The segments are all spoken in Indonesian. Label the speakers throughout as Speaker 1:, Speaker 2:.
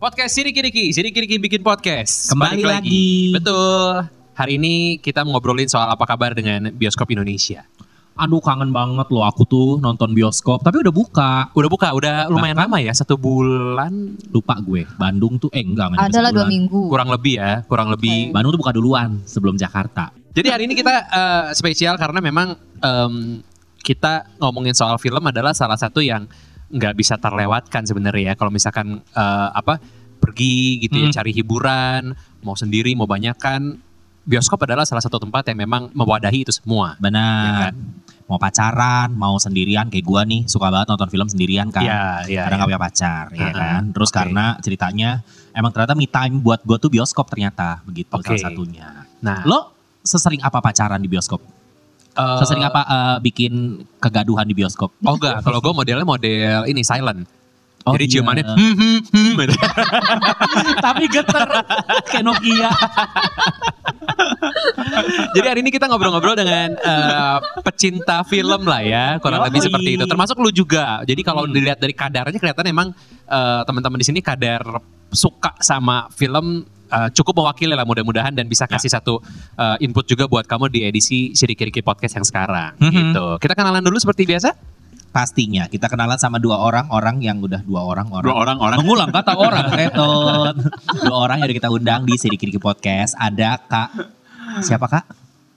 Speaker 1: Podcast Siriki Riki, Siriki Riki bikin podcast. Balik
Speaker 2: Kembali lagi.
Speaker 1: Betul. Hari ini kita ngobrolin soal apa kabar dengan bioskop Indonesia.
Speaker 2: Aduh kangen banget loh aku tuh nonton bioskop, tapi udah buka.
Speaker 1: Udah buka, udah lumayan lama ya, satu bulan
Speaker 2: Lupa gue, Bandung tuh eh enggak nggak nyampe
Speaker 3: Adalah dua
Speaker 2: sebulan.
Speaker 3: minggu.
Speaker 1: kurang lebih ya, kurang lebih.
Speaker 2: Bandung tuh buka duluan sebelum Jakarta.
Speaker 1: Jadi hari ini kita eh, spesial karena memang em, kita ngomongin soal film adalah salah satu yang nggak bisa terlewatkan sebenarnya ya. Kalau misalkan eh, apa pergi gitu ya
Speaker 2: Hmm.
Speaker 1: cari hiburan, mau sendiri mau banyakan, bioskop adalah salah satu tempat yang memang mewadahi itu semua. Ya
Speaker 2: Benar. Mau pacaran, mau sendirian kayak gua nih, suka banget nonton film sendirian kan.
Speaker 1: Iya, iya.
Speaker 2: Karena
Speaker 1: iya.
Speaker 2: nggak punya pacar, ya
Speaker 1: Ah,
Speaker 2: kan. Terus
Speaker 1: oke.
Speaker 2: karena ceritanya emang ternyata me time buat gua tuh bioskop ternyata begitu
Speaker 1: Oke.
Speaker 2: salah satunya.
Speaker 1: Nah,
Speaker 2: Lo sesering apa pacaran di bioskop?
Speaker 1: eh,
Speaker 2: Sesering apa eh, bikin kegaduhan di bioskop?
Speaker 1: Oh enggak, kalau gue modelnya model ini silent.
Speaker 2: Oh,
Speaker 1: Jadi
Speaker 2: iya.
Speaker 1: ciumannya hmm, hmm, hmm, gitu.
Speaker 2: tapi geter kayak Nokia.
Speaker 1: Jadi hari ini kita ngobrol-ngobrol dengan eh, pecinta film lah ya, kurang lebih
Speaker 2: Yoi.
Speaker 1: seperti itu. Termasuk lu juga. Jadi kalau
Speaker 2: Oh, iya. Hmm.
Speaker 1: dilihat dari kadarnya kelihatan emang eh, teman-teman di sini kadar suka sama film eh, cukup mewakili lah mudah-mudahan dan
Speaker 2: Ya.
Speaker 1: bisa kasih satu eh, input juga buat kamu di edisi Sirikiriki Podcast yang sekarang
Speaker 2: Mhm.
Speaker 1: gitu. Kita kenalan dulu seperti biasa.
Speaker 2: Pastinya kita kenalan sama dua orang orang yang udah dua orang orang.
Speaker 1: orang-orang.
Speaker 2: Mengulang kata orang, Teton. Dua orang yang udah kita undang di Sedikit Dikit Podcast. Ada Kak, siapa Kak?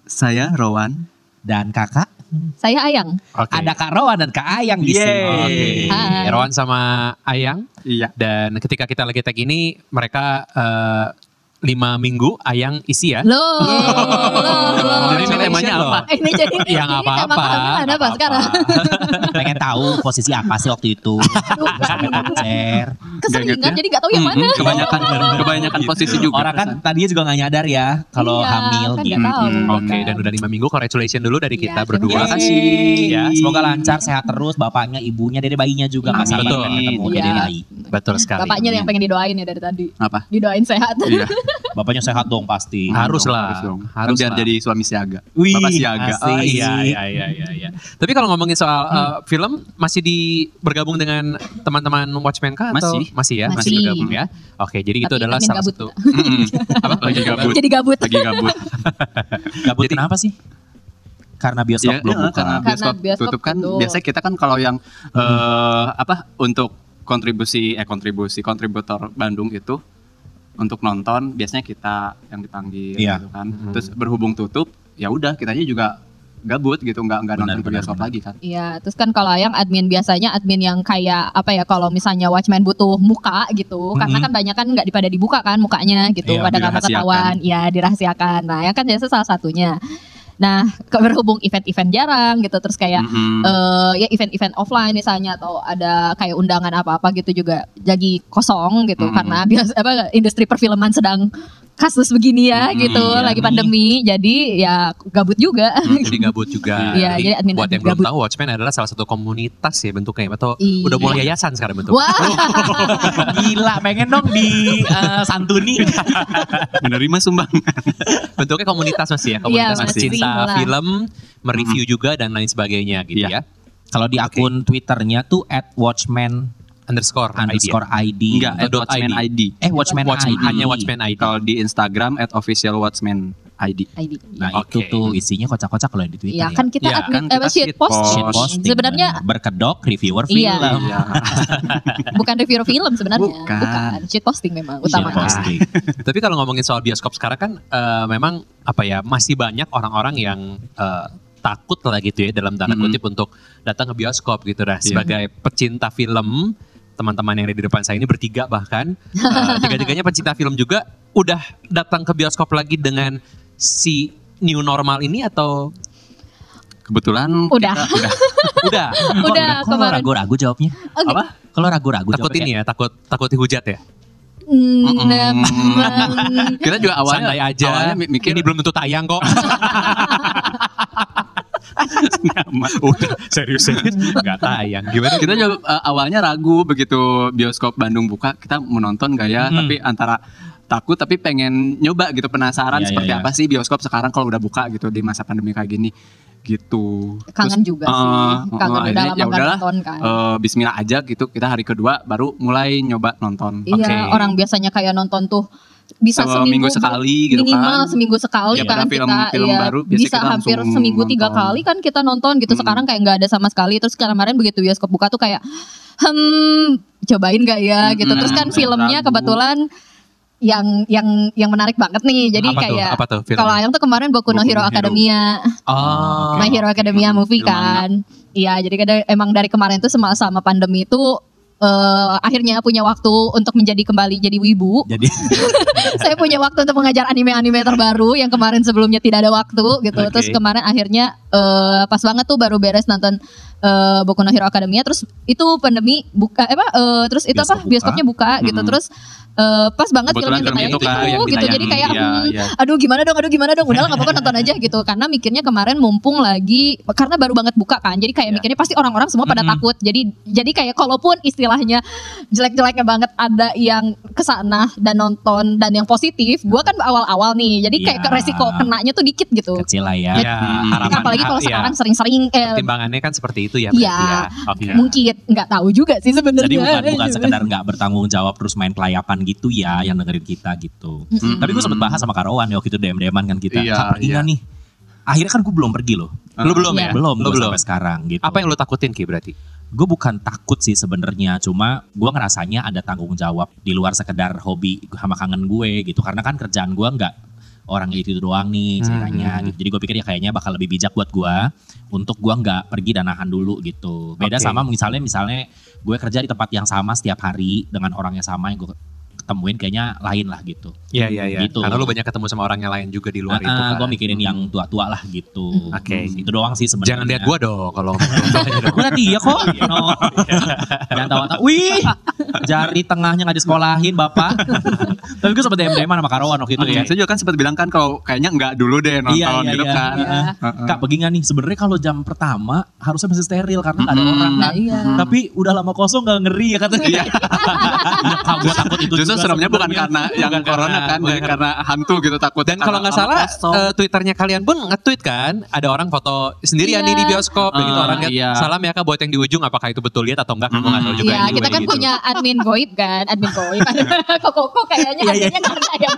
Speaker 4: Saya Rowan.
Speaker 2: Dan Kakak.
Speaker 3: Saya Ayang.
Speaker 1: Oke.
Speaker 2: Ada Kak Rowan dan Kak Ayang di sini.
Speaker 4: Yeay.
Speaker 3: Hai.
Speaker 1: Rowan sama Ayang.
Speaker 4: Iya.
Speaker 1: Dan ketika kita lagi tag ini, mereka eh, lima minggu ayang isi ya.
Speaker 3: Loh. loh. Eh,
Speaker 1: Jadi ini temanya apa?
Speaker 3: Ini jadi
Speaker 1: Yang
Speaker 3: ini
Speaker 1: apa-apa.
Speaker 3: tema kehamilan apa
Speaker 1: apa-apa.
Speaker 3: sekarang?
Speaker 2: Pengen tahu posisi apa sih waktu itu. Terus sampai pacar.
Speaker 3: Keseringan
Speaker 4: Gadgetnya.
Speaker 3: jadi nggak tahu
Speaker 1: Iya,
Speaker 3: yang mana.
Speaker 4: Mm-mm, kebanyakan kebanyakan
Speaker 3: Gitu.
Speaker 4: posisi juga.
Speaker 2: Orang kan tadinya juga gak nyadar ya kalau
Speaker 3: Iya,
Speaker 2: hamil
Speaker 3: kan
Speaker 2: gitu.
Speaker 3: nggak tahu.
Speaker 4: Mm-mm.
Speaker 1: Oke, dan udah lima minggu. Congratulations dulu dari kita
Speaker 3: Iya,
Speaker 1: berdua.
Speaker 3: terima kasih.
Speaker 1: Ya,
Speaker 2: Ya,
Speaker 1: semoga
Speaker 2: semoga lancar, sehat terus, bapaknya, ibunya, dede bayinya juga nggak sabar
Speaker 1: Betul.
Speaker 2: pengen ketemu
Speaker 3: Iya.
Speaker 2: dede bayi.
Speaker 1: betul sekali.
Speaker 3: Bapaknya yang pengen didoain ya dari tadi.
Speaker 4: Apa?
Speaker 3: Didoain sehat.
Speaker 4: Iya.
Speaker 2: Bapaknya sehat dong pasti.
Speaker 4: Ah,
Speaker 1: harus lah,
Speaker 4: Harus dong.
Speaker 1: harus
Speaker 4: biar
Speaker 1: lah.
Speaker 4: jadi suami siaga.
Speaker 2: Wih,
Speaker 4: Bapak siaga.
Speaker 2: asik.
Speaker 1: Oh, iya, iya, iya, iya, iya. Tapi kalau ngomongin soal
Speaker 3: Hmm.
Speaker 1: eh, film, masih di bergabung dengan teman-teman Watchmen kah? Atau?
Speaker 4: Masih.
Speaker 1: masih ya, masih.
Speaker 3: Masih.
Speaker 1: bergabung ya. Oke, jadi itu
Speaker 3: Tapi
Speaker 1: adalah
Speaker 3: admin
Speaker 1: salah
Speaker 3: gabut.
Speaker 1: satu.
Speaker 4: Mm-mm.
Speaker 1: Apa?
Speaker 4: Lagi gabut.
Speaker 3: Jadi gabut.
Speaker 4: Lagi gabut.
Speaker 2: Gabut
Speaker 1: Jadi-
Speaker 2: kenapa sih? Karena bioskop
Speaker 4: Ya,
Speaker 2: belum
Speaker 4: iya,
Speaker 2: buka.
Speaker 4: Karena bioskop,
Speaker 3: Karena bioskop
Speaker 4: tutup kan.
Speaker 3: tutup.
Speaker 4: Biasanya kita kan kalau yang eh, apa untuk kontribusi eh kontribusi kontributor Bandung itu untuk nonton biasanya kita yang dipanggil
Speaker 2: Iya.
Speaker 4: gitu kan.
Speaker 1: Mm-mm.
Speaker 4: Terus berhubung tutup, ya udah kitanya juga gabut gitu nggak nggak
Speaker 2: Benar,
Speaker 4: nonton ke
Speaker 2: benar,
Speaker 4: bioskop
Speaker 2: benar.
Speaker 4: lagi kan.
Speaker 3: Iya, terus kan kalau yang admin biasanya admin yang kayak apa ya kalau misalnya Watchmen butuh muka gitu, karena
Speaker 2: Mhm.
Speaker 3: kan banyak kan nggak dipada dibuka kan mukanya
Speaker 2: Iya,
Speaker 3: gitu, pada nggak mau
Speaker 4: dirahasiakan.
Speaker 3: ketahuan, ya dirahasiakan. Nah, yang kan biasa salah satunya. Nah, ke- berhubung event-event jarang gitu, terus kayak
Speaker 4: Mm-mm.
Speaker 3: eh, ya event-event offline misalnya atau ada kayak undangan apa-apa gitu juga jadi kosong gitu
Speaker 4: Mhm.
Speaker 3: karena biasa apa industri perfilman sedang kasus begini ya
Speaker 4: Mhm,
Speaker 3: gitu
Speaker 2: iya
Speaker 3: lagi
Speaker 2: nih.
Speaker 3: pandemi jadi ya gabut juga
Speaker 1: jadi gabut juga.
Speaker 3: Iya, jadi admin
Speaker 1: buat yang
Speaker 3: gabut.
Speaker 1: belum tahu Watchmen adalah salah satu komunitas ya bentuknya atau
Speaker 3: Iya.
Speaker 1: udah mulai yayasan sekarang bentuk.
Speaker 3: wah
Speaker 2: Gila, pengen dong di eh, santuni.
Speaker 4: Menerima sumbangan.
Speaker 1: Bentuknya komunitas masih ya, komunitas
Speaker 3: Iya, masih.
Speaker 1: pecinta
Speaker 3: Lah.
Speaker 1: film, mereview juga dan lain sebagainya gitu ya.
Speaker 4: Iya.
Speaker 2: Kalau di akun Twitternya tuh at watchman
Speaker 1: Underscore
Speaker 2: underscore ID.
Speaker 4: Enggak, eh,
Speaker 1: Atau dot
Speaker 4: Watchmen
Speaker 1: ID.
Speaker 4: ID.
Speaker 2: Eh, watchman,
Speaker 1: Watchmen,
Speaker 2: ID.
Speaker 1: hanya Watchmen ID.
Speaker 4: Kalau di Instagram at official Watchmen ID.
Speaker 3: ID.
Speaker 2: Nah
Speaker 1: Oke.
Speaker 2: itu tuh isinya kocak-kocak kalau di Twitter ya.
Speaker 3: Iya kan kita
Speaker 1: Iya,
Speaker 3: admin
Speaker 4: kan
Speaker 3: eh,
Speaker 4: kita
Speaker 3: shit
Speaker 4: shit
Speaker 3: post.
Speaker 4: post.
Speaker 2: Shitposting,
Speaker 3: Sebenarnya
Speaker 2: benar. berkedok reviewer film.
Speaker 3: Iya.
Speaker 4: Iya.
Speaker 2: kan.
Speaker 3: bukan review film sebenarnya,
Speaker 4: Bukan.
Speaker 3: shit posting
Speaker 2: Iya,
Speaker 3: memang utamanya.
Speaker 1: Shitposting.
Speaker 2: Shitposting.
Speaker 1: Tapi kalau ngomongin soal bioskop sekarang kan eh, memang apa ya masih banyak orang-orang yang eh, takut lah gitu ya dalam tanda
Speaker 4: Mhm.
Speaker 1: kutip untuk datang ke bioskop gitu dah
Speaker 4: Iya.
Speaker 1: sebagai pecinta film teman-teman yang ada di depan saya ini bertiga bahkan eh, tiga-tiganya pecinta film juga udah datang ke bioskop lagi dengan si new normal ini atau
Speaker 4: Kebetulan
Speaker 3: Udah.
Speaker 4: kita udah
Speaker 1: udah
Speaker 3: Udah
Speaker 2: Kalau
Speaker 3: kemarin.
Speaker 2: ragu-ragu jawabnya.
Speaker 3: Oke.
Speaker 4: Apa?
Speaker 2: Kalau ragu-ragu
Speaker 1: takut
Speaker 2: jawabnya.
Speaker 1: ini ya takut takut dihujat ya
Speaker 3: Mm,
Speaker 4: Mm-mm.
Speaker 3: em,
Speaker 4: kita juga awalnya
Speaker 1: santai aja
Speaker 4: awalnya mi- mikir
Speaker 1: ini belum tentu tayang kok
Speaker 4: aman.
Speaker 1: udah serius-serius nggak tayang gimana
Speaker 4: kita juga eh, awalnya ragu begitu bioskop Bandung buka kita menonton gak ya
Speaker 2: Mm-mm.
Speaker 4: tapi antara takut tapi pengen nyoba gitu penasaran
Speaker 2: Iya,
Speaker 4: seperti
Speaker 2: iya, iya.
Speaker 4: apa sih bioskop sekarang kalau udah buka gitu di masa pandemi kayak gini gitu.
Speaker 3: kangen
Speaker 4: Terus,
Speaker 3: juga
Speaker 4: eh,
Speaker 3: sih
Speaker 4: eh,
Speaker 3: kangen
Speaker 4: akhirnya
Speaker 3: udah lama
Speaker 4: ya
Speaker 3: gak
Speaker 4: udahlah,
Speaker 3: nonton kan
Speaker 4: eh, Bismillah aja gitu. Kita hari kedua baru mulai nyoba nonton.
Speaker 3: iya
Speaker 1: oke.
Speaker 3: orang biasanya kayak nonton tuh bisa
Speaker 4: Seminggu
Speaker 3: seminggu ber-
Speaker 4: sekali gitu kan.
Speaker 3: minimal seminggu sekali
Speaker 4: Ya,
Speaker 3: kan
Speaker 4: padahal film-
Speaker 3: kita
Speaker 4: film
Speaker 3: iya,
Speaker 4: baru biasanya
Speaker 3: bisa
Speaker 4: kita
Speaker 3: hampir
Speaker 4: langsung
Speaker 3: seminggu tiga
Speaker 4: nonton.
Speaker 3: kali kan kita nonton gitu
Speaker 4: Mm.
Speaker 3: sekarang kayak nggak ada sama sekali terus kemarin begitu bioskop buka tuh kayak hmm cobain gak ya gitu terus kan
Speaker 4: Mm-mm.
Speaker 3: filmnya
Speaker 4: Hmm, nah, Ragu.
Speaker 3: kebetulan yang yang yang menarik banget nih jadi
Speaker 1: apa
Speaker 3: kayak
Speaker 1: tuh? Apa tuh film?
Speaker 3: kalau Ayang tuh kemarin Boku no
Speaker 4: Boku
Speaker 3: Hero
Speaker 4: no Hero.
Speaker 3: Academia
Speaker 1: oh.
Speaker 3: My Hero Academia
Speaker 4: Hmm,
Speaker 3: movie
Speaker 4: film
Speaker 3: kan. Iya, jadi kada, emang dari kemarin tuh sama sama pandemi itu eh, akhirnya punya waktu untuk menjadi kembali jadi wibu.
Speaker 2: Jadi
Speaker 3: Saya punya waktu untuk mengajar anime-anime terbaru yang kemarin sebelumnya tidak ada waktu gitu.
Speaker 1: Oke.
Speaker 3: Terus kemarin akhirnya eh, pas banget tuh baru beres nonton eh, Boku no Hero Academia. Terus itu pandemi buka eh, apa eh, terus itu
Speaker 2: Bioskop
Speaker 3: apa
Speaker 2: buka.
Speaker 3: bioskopnya buka gitu.
Speaker 4: Mm-mm.
Speaker 3: Terus eh, pas banget
Speaker 4: Kebetulan
Speaker 3: filmnya
Speaker 4: film
Speaker 3: ditayang gitu,
Speaker 4: itu kan yang
Speaker 3: gitu. Jadi
Speaker 4: ditayangin,
Speaker 3: kayak
Speaker 4: iya,
Speaker 3: hmm,
Speaker 4: iya.
Speaker 3: aduh gimana dong aduh gimana dong udah lah, nggak apa-apa nonton aja gitu karena mikirnya kemarin mumpung lagi karena baru banget buka kan jadi kayak
Speaker 4: Iya.
Speaker 3: mikirnya pasti orang-orang semua pada
Speaker 1: Mm-mm.
Speaker 3: takut jadi jadi kayak kalaupun istilahnya jelek-jeleknya banget ada yang kesana dan nonton dan yang positif gua kan awal-awal nih jadi kayak
Speaker 2: Iya.
Speaker 3: resiko kenanya tuh dikit gitu
Speaker 2: kecil lah ya.
Speaker 1: Ya, harapan,
Speaker 3: apalagi kalau
Speaker 1: ya,
Speaker 3: sekarang sering-sering eh,
Speaker 1: timbangannya kan seperti itu ya.
Speaker 3: Iya.
Speaker 1: berarti ya. Oke.
Speaker 3: mungkin nggak tahu juga sih sebenarnya
Speaker 2: Jadi bukan bukan
Speaker 3: iya.
Speaker 2: sekedar nggak bertanggung jawab terus main kelayapan gitu ya yang dengerin kita gitu.
Speaker 3: Mm-mm.
Speaker 2: Tapi gue sempet bahas sama Karawan ya waktu itu DM-DM-an kan kita.
Speaker 4: Iya,
Speaker 2: Kak, pergi nggak nih? Akhirnya kan gue belum pergi loh.
Speaker 1: Lu belum
Speaker 3: Iya.
Speaker 1: ya?
Speaker 2: Belum
Speaker 1: Lu
Speaker 2: gue
Speaker 1: belum.
Speaker 2: sampai sekarang gitu.
Speaker 1: Apa yang lu takutin Ki berarti?
Speaker 2: Gue bukan takut sih sebenarnya, cuma gue ngerasanya ada tanggung jawab di luar sekedar hobi sama kangen gue gitu. Karena kan kerjaan gue nggak orang itu doang nih ceritanya.
Speaker 1: Hmm.
Speaker 2: Gitu. Jadi gue pikir ya kayaknya bakal lebih bijak buat gue untuk gue nggak pergi dan nahan dulu gitu. Beda
Speaker 1: Oke.
Speaker 2: sama misalnya misalnya gue kerja di tempat yang sama setiap hari dengan orang yang sama yang gue ketemuin kayaknya lain lah gitu.
Speaker 1: Iya, iya, iya.
Speaker 2: Gitu.
Speaker 1: Karena lu banyak ketemu sama orang yang lain juga di luar itu kan.
Speaker 2: gue mikirin yang tua-tua lah gitu.
Speaker 3: Hmm.
Speaker 1: Oke.
Speaker 2: Itu doang sih sebenarnya.
Speaker 1: Jangan lihat gua dong kalau
Speaker 2: Gue tadi iya kok. No. Jangan tawa-tawa. Wih, jari tengahnya nggak disekolahin bapak. Tapi gue sempet dm sama Karawan waktu itu
Speaker 4: Oke,
Speaker 2: ya.
Speaker 4: saya juga kan sempat bilang kan kalau kayaknya enggak dulu deh nonton
Speaker 2: Iya, iya,
Speaker 4: gitu
Speaker 2: iya.
Speaker 4: kan.
Speaker 3: Iya.
Speaker 4: Heeh.
Speaker 2: Kak pergi nggak nih? Sebenarnya kalau jam pertama harusnya masih steril karena nggak ada
Speaker 4: Mm-mm.
Speaker 2: orang
Speaker 3: nah,
Speaker 2: kan.
Speaker 3: iya
Speaker 2: Tapi udah lama kosong nggak ngeri ya katanya. Iya. Kak gue takut itu.
Speaker 4: Justru
Speaker 2: juga
Speaker 4: seremnya bukan
Speaker 2: sebenarnya.
Speaker 4: karena yang
Speaker 1: Bukan
Speaker 4: corona
Speaker 1: karena-
Speaker 4: kan,
Speaker 1: bukan
Speaker 4: bukan karena hantu gitu takut.
Speaker 1: Dan kalau nggak
Speaker 4: Karena
Speaker 1: salah
Speaker 4: kosong.
Speaker 1: eh, twitternya kalian pun nge-tweet kan, ada orang foto sendirian nih
Speaker 3: Iya.
Speaker 1: di bioskop,
Speaker 4: Ah,
Speaker 1: begitu orang lihat,
Speaker 4: iya.
Speaker 1: salam ya kak buat yang di ujung, apakah itu betul lihat atau enggak? Kan gua nggak tahu juga.
Speaker 3: Iya,
Speaker 1: anyway,
Speaker 3: kita kan
Speaker 1: gitu.
Speaker 3: punya admin goib kan, admin goib. Koko-koko kayaknya
Speaker 2: Iya, iya.
Speaker 3: adminnya karena yang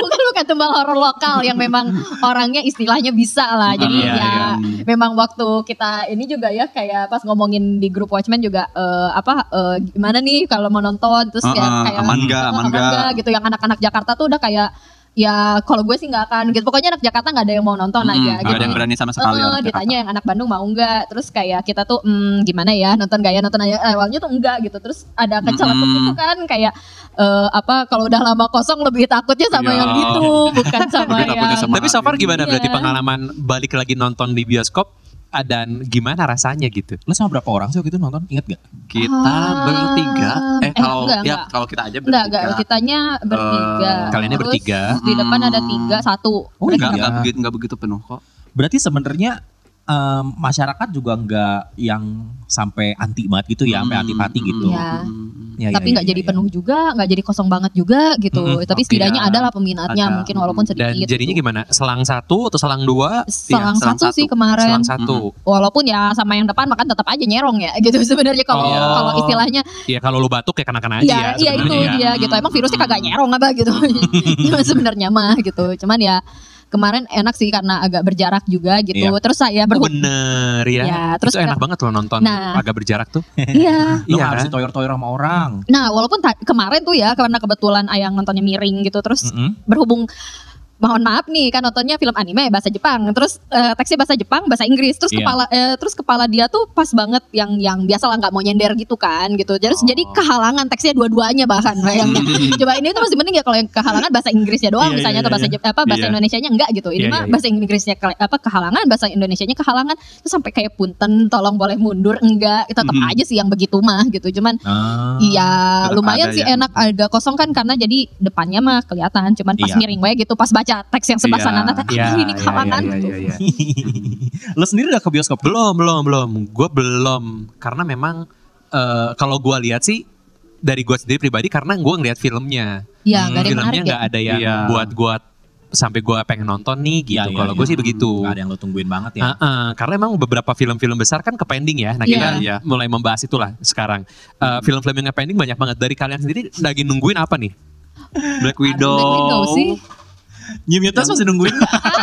Speaker 3: bukan bukan tembal horor lokal yang memang orangnya istilahnya bisa lah. Jadi
Speaker 1: Iya,
Speaker 3: ya
Speaker 1: iya.
Speaker 3: memang waktu kita ini juga ya kayak pas ngomongin di grup Watchmen juga eh, apa eh, gimana nih kalau mau nonton terus ya
Speaker 4: Heeh,
Speaker 3: kayak
Speaker 4: aman nggak,
Speaker 3: eh,
Speaker 4: aman nggak.
Speaker 3: gitu yang anak-anak Jakarta tuh udah kayak ya kalau gue sih nggak akan gitu. Pokoknya anak Jakarta nggak ada yang mau nonton
Speaker 4: Mm-mm,
Speaker 3: aja.
Speaker 4: nggak ada
Speaker 3: gitu.
Speaker 4: yang berani sama sekali.
Speaker 3: Eh,
Speaker 4: orang Jakarta.
Speaker 3: ditanya yang anak Bandung mau nggak terus kayak kita tuh "Hmm, gimana ya nonton gak ya nonton aja Eh, awalnya tuh enggak gitu terus ada kecelakaan
Speaker 4: Mm-mm.
Speaker 3: gitu kan kayak eh, apa kalau udah lama kosong lebih takutnya sama
Speaker 4: Iya.
Speaker 3: yang itu bukan sama
Speaker 4: Lebih
Speaker 3: yang
Speaker 4: takutnya sama-
Speaker 1: Tapi so far gimana
Speaker 3: Iya.
Speaker 1: berarti pengalaman balik lagi nonton di bioskop ah, dan gimana rasanya gitu?
Speaker 2: Lo sama berapa orang sih waktu itu nonton? Ingat gak?
Speaker 4: Kita
Speaker 3: Ah.
Speaker 4: bertiga.
Speaker 3: Eh,
Speaker 4: Eh kalau
Speaker 3: enggak,
Speaker 4: ya
Speaker 3: enggak.
Speaker 4: kalau kita aja
Speaker 3: enggak enggak
Speaker 4: bertiga.
Speaker 3: kitanya bertiga
Speaker 4: Eh,
Speaker 1: Kaliannya
Speaker 3: Terus
Speaker 1: bertiga.
Speaker 3: di depan ada tiga satu
Speaker 2: Oh,
Speaker 3: Berarti
Speaker 4: Hmm.
Speaker 2: Iya.
Speaker 4: Enggak, enggak begitu enggak begitu penuh kok.
Speaker 2: Berarti sebenarnya em, masyarakat juga nggak yang sampai anti banget gitu ya, sampai
Speaker 4: Hmm,
Speaker 2: antipati
Speaker 4: hmm,
Speaker 2: gitu.
Speaker 3: Iya.
Speaker 4: hmm,
Speaker 2: Ya,
Speaker 3: tapi
Speaker 2: ya,
Speaker 3: nggak
Speaker 2: ya,
Speaker 3: jadi
Speaker 2: ya.
Speaker 3: penuh juga nggak jadi kosong banget juga gitu
Speaker 1: Mm-mm, oke,
Speaker 3: tapi setidaknya
Speaker 4: ya.
Speaker 3: ada lah peminatnya
Speaker 4: Ada.
Speaker 3: mungkin walaupun sedikit
Speaker 1: Dan
Speaker 3: gitu.
Speaker 1: jadinya gimana? Selang satu atau selang dua?
Speaker 3: selang,
Speaker 4: Iya, selang
Speaker 3: satu, sih
Speaker 4: satu.
Speaker 3: kemarin
Speaker 1: Selang satu.
Speaker 3: walaupun ya sama yang depan makan tetap aja nyerong ya gitu sebenarnya kalau
Speaker 1: Oh.
Speaker 3: kalau istilahnya
Speaker 1: Iya kalau lu batuk ya kenakan aja ya.
Speaker 3: ya iya itu
Speaker 1: sebenarnya ya.
Speaker 3: dia gitu emang virusnya kagak nyerong apa gitu Cuma sebenarnya mah gitu cuman ya kemarin enak sih karena agak berjarak juga gitu
Speaker 1: Iya.
Speaker 3: terus
Speaker 1: Oh,
Speaker 3: saya berhubung
Speaker 1: bener ya.
Speaker 3: Ya,
Speaker 1: terus
Speaker 3: terus
Speaker 1: itu enak banget loh nonton
Speaker 3: Nah.
Speaker 1: agak berjarak tuh.
Speaker 3: iya
Speaker 2: Lo
Speaker 1: Iya,
Speaker 2: harus
Speaker 1: kan?
Speaker 2: ditoyor-toyor sama orang.
Speaker 3: nah walaupun ta- kemarin tuh ya karena kebetulan ayang nontonnya miring gitu terus
Speaker 2: Mm-mm.
Speaker 3: berhubung mohon maaf nih kan nontonnya film anime bahasa Jepang terus eh, teksnya bahasa Jepang bahasa Inggris terus
Speaker 2: Iya.
Speaker 3: kepala eh, terus kepala dia tuh pas banget yang yang biasa lah nggak mau nyender gitu kan gitu
Speaker 1: Oh.
Speaker 3: terus jadi kehalangan teksnya dua-duanya bahkan bayangin coba ini tuh masih mending ya kalau yang kehalangan bahasa Inggrisnya doang
Speaker 2: Iya, iya,
Speaker 3: misalnya atau bahasa
Speaker 2: iya.
Speaker 3: Jep- apa bahasa
Speaker 1: Iya.
Speaker 3: Indonesianya enggak gitu ini
Speaker 1: Iya, iya,
Speaker 3: mah
Speaker 1: iya.
Speaker 3: bahasa Inggrisnya ke- apa kehalangan bahasa Indonesianya kehalangan terus sampai kayak punten tolong boleh mundur enggak tetap
Speaker 4: Mhm.
Speaker 3: aja sih yang begitu mah gitu cuman
Speaker 2: Ah.
Speaker 3: Iya,
Speaker 4: tetap
Speaker 3: lumayan
Speaker 4: ada
Speaker 3: sih
Speaker 4: ya.
Speaker 3: enak agak kosong kan karena jadi depannya mah kelihatan cuman pas
Speaker 2: Iya.
Speaker 3: miring wae gitu pas baca teks yang sebelah
Speaker 4: Iya,
Speaker 3: sana nanti
Speaker 1: Iya,
Speaker 3: "Ah, ini
Speaker 1: iya,
Speaker 3: kehalangan.
Speaker 1: iya, iya, iya.
Speaker 2: Lo sendiri udah ke bioskop belum?
Speaker 1: Belum, belum, belum. Gue belum karena memang eh, kalau gua lihat sih dari gua sendiri pribadi karena gua ngelihat filmnya.
Speaker 3: Iya, gak ada yang
Speaker 1: Hmm, filmnya
Speaker 3: menarik ya.
Speaker 1: nggak ada yang
Speaker 4: Iya.
Speaker 1: buat gua sampai gue pengen nonton nih gitu.
Speaker 2: Iya, iya,
Speaker 1: Kalau
Speaker 2: iya.
Speaker 1: gue sih begitu.
Speaker 2: Nggak ada yang lo tungguin banget
Speaker 3: Ah,
Speaker 2: ya.
Speaker 1: Heeh, karena emang beberapa film-film besar kan ke pending ya. Nah kita
Speaker 4: Iya.
Speaker 1: mulai membahas itulah sekarang. Eh, Film-film yang ke pending banyak banget. Dari kalian sendiri lagi nungguin apa nih?
Speaker 4: Black Widow.
Speaker 3: Black ya, Widow sih.
Speaker 2: New Mutants masih nungguin.
Speaker 3: Ah,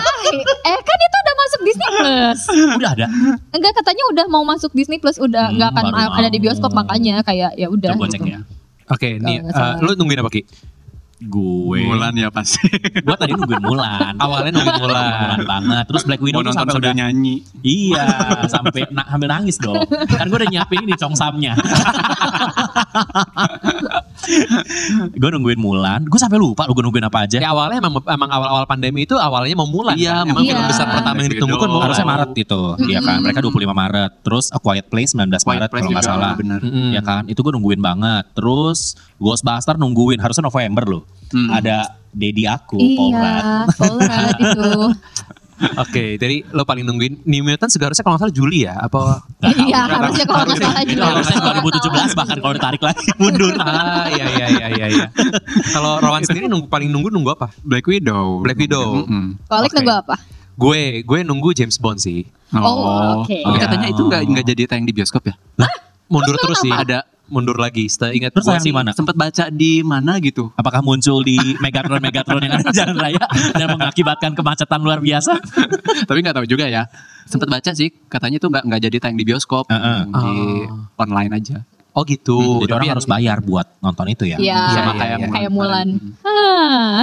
Speaker 3: eh kan itu udah masuk Disney Plus.
Speaker 2: udah ada.
Speaker 3: Enggak katanya udah mau masuk Disney Plus udah
Speaker 2: Hmm,
Speaker 3: nggak akan
Speaker 2: baru
Speaker 3: ada di
Speaker 2: mau.
Speaker 3: bioskop makanya kayak ya udah.
Speaker 2: Coba
Speaker 3: gitu.
Speaker 2: cek ya.
Speaker 1: Oke, nih
Speaker 3: nggak
Speaker 1: eh,
Speaker 3: salah.
Speaker 1: lu nungguin apa Ki?
Speaker 2: Gue.
Speaker 4: Mulan ya pasti.
Speaker 2: Gue tadi nungguin Mulan.
Speaker 1: Awalnya nungguin Mulan.
Speaker 2: Mulan banget. Terus Black Widow
Speaker 4: Mau
Speaker 2: tuh
Speaker 4: nonton
Speaker 2: sampai
Speaker 4: sambil
Speaker 2: udah
Speaker 4: nyanyi.
Speaker 2: Iya, sampai na- hampir nangis dong. Kan gue udah nyiapin ini congsamnya. gue nungguin Mulan. Gue sampai lupa lo gue nungguin apa aja.
Speaker 1: Ya awalnya emang emang awal-awal pandemi itu awalnya mau Mulan.
Speaker 4: Iya,
Speaker 1: kan? emang
Speaker 3: Mulan.
Speaker 1: film besar pertama yang
Speaker 4: Black
Speaker 1: ditunggu kan
Speaker 4: Widow.
Speaker 1: Mulan.
Speaker 3: Ya,
Speaker 2: Harusnya
Speaker 3: oh.
Speaker 2: Maret itu, Iya kan.
Speaker 3: Hmm.
Speaker 2: Mereka 25 Maret. Terus A Quiet Place 19 Maret kalau nggak salah.
Speaker 4: Bener.
Speaker 1: Mm-mm.
Speaker 2: Ya kan, itu gue nungguin banget. Terus Ghostbuster nungguin, harusnya November loh.
Speaker 4: Hmm.
Speaker 2: Ada Dedi aku, Paul
Speaker 3: Iya,
Speaker 2: Rudd.
Speaker 3: Polrat itu.
Speaker 1: Oke, jadi lo paling nungguin New Mutants juga harusnya kalau nggak salah Juli ya? Apa?
Speaker 3: Iya, harusnya kalau nggak salah
Speaker 2: Itu
Speaker 3: juga.
Speaker 2: harusnya 2017 bahkan kalau ditarik lagi mundur.
Speaker 1: ah, iya iya iya iya. iya. kalau Rowan sendiri nunggu paling nunggu nunggu apa?
Speaker 4: Black Widow.
Speaker 1: Black Widow.
Speaker 4: Mm-mm.
Speaker 3: Kolik
Speaker 1: Oke.
Speaker 3: nunggu apa?
Speaker 1: Gue gue nunggu James Bond sih.
Speaker 3: Oh, oke.
Speaker 4: Tapi katanya itu nggak
Speaker 2: Oh.
Speaker 4: nggak jadi tayang di bioskop ya?
Speaker 1: Mundur terus sih.
Speaker 4: Ada
Speaker 1: mundur lagi. Seta- Ingat
Speaker 2: Terus
Speaker 1: gua
Speaker 2: sayang
Speaker 1: sih,
Speaker 2: di mana?
Speaker 4: sempat baca di mana gitu.
Speaker 2: Apakah muncul di Megatron-Megatron yang ada di jalan raya dan mengakibatkan kemacetan luar biasa?
Speaker 4: Tapi nggak tahu juga ya. Sempat baca sih katanya itu nggak nggak jadi tayang di bioskop,
Speaker 2: Heeh.
Speaker 4: di online aja.
Speaker 1: Oh gitu. Tapi
Speaker 2: Jadi orang
Speaker 1: yang-
Speaker 2: harus bayar buat nonton itu ya.
Speaker 3: Iya,
Speaker 1: Iya, iya,
Speaker 4: kayak
Speaker 1: iya.
Speaker 3: kayak Mulan. Ah.